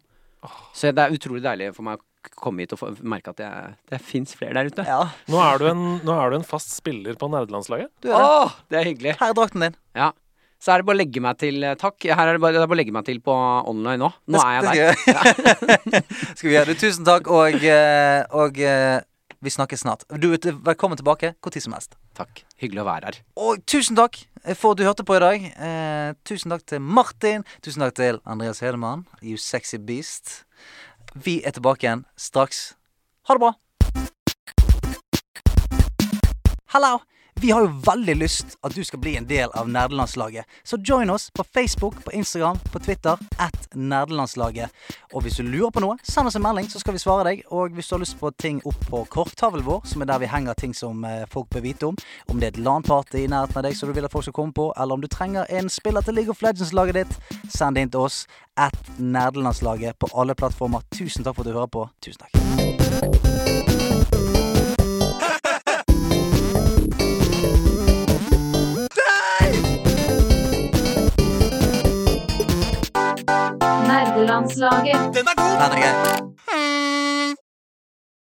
D: Så det er utrolig deilig for meg å komme hit og få merke at jeg, det fins flere der ute.
A: Ja.
C: Nå, er du en, nå er du en fast spiller på nerdelandslaget.
A: Du er det.
D: Åh, det er hyggelig.
A: Her er drakten din.
D: Ja. Så er det bare å legge meg til, eh, takk. Her er det bare, det er bare å legge meg til på online nå. Nå er jeg der.
A: Det skal vi- skal vi gjøre. Du, tusen takk, og, eh, og eh, vi snakkes snart. Du er velkommen tilbake hvor tid som helst.
D: Takk. Hyggelig å være her.
A: Og tusen takk for at du hørte på i dag. Eh, tusen takk til Martin. Tusen takk til Andreas Hedemann. You sexy beast. Vi er tilbake igjen straks. Ha det bra. Hallo! Vi har jo veldig lyst at du skal bli en del av nerdelandslaget. Så join oss på Facebook, på Instagram, på Twitter at nerdelandslaget. Og hvis du lurer på noe, send oss en melding, så skal vi svare deg. Og hvis du har lyst på ting opp på korktavlen vår, som er der vi henger ting som eh, folk bør vite om, om det er et LAN-party i nærheten av deg som du vil at folk skal komme på, eller om du trenger en spiller til League of Legends-laget ditt, send det inn til oss at nerdelandslaget på alle plattformer. Tusen takk for at du hører på. Tusen takk.
E: Nerdelandslaget.
A: Nei, det er greit.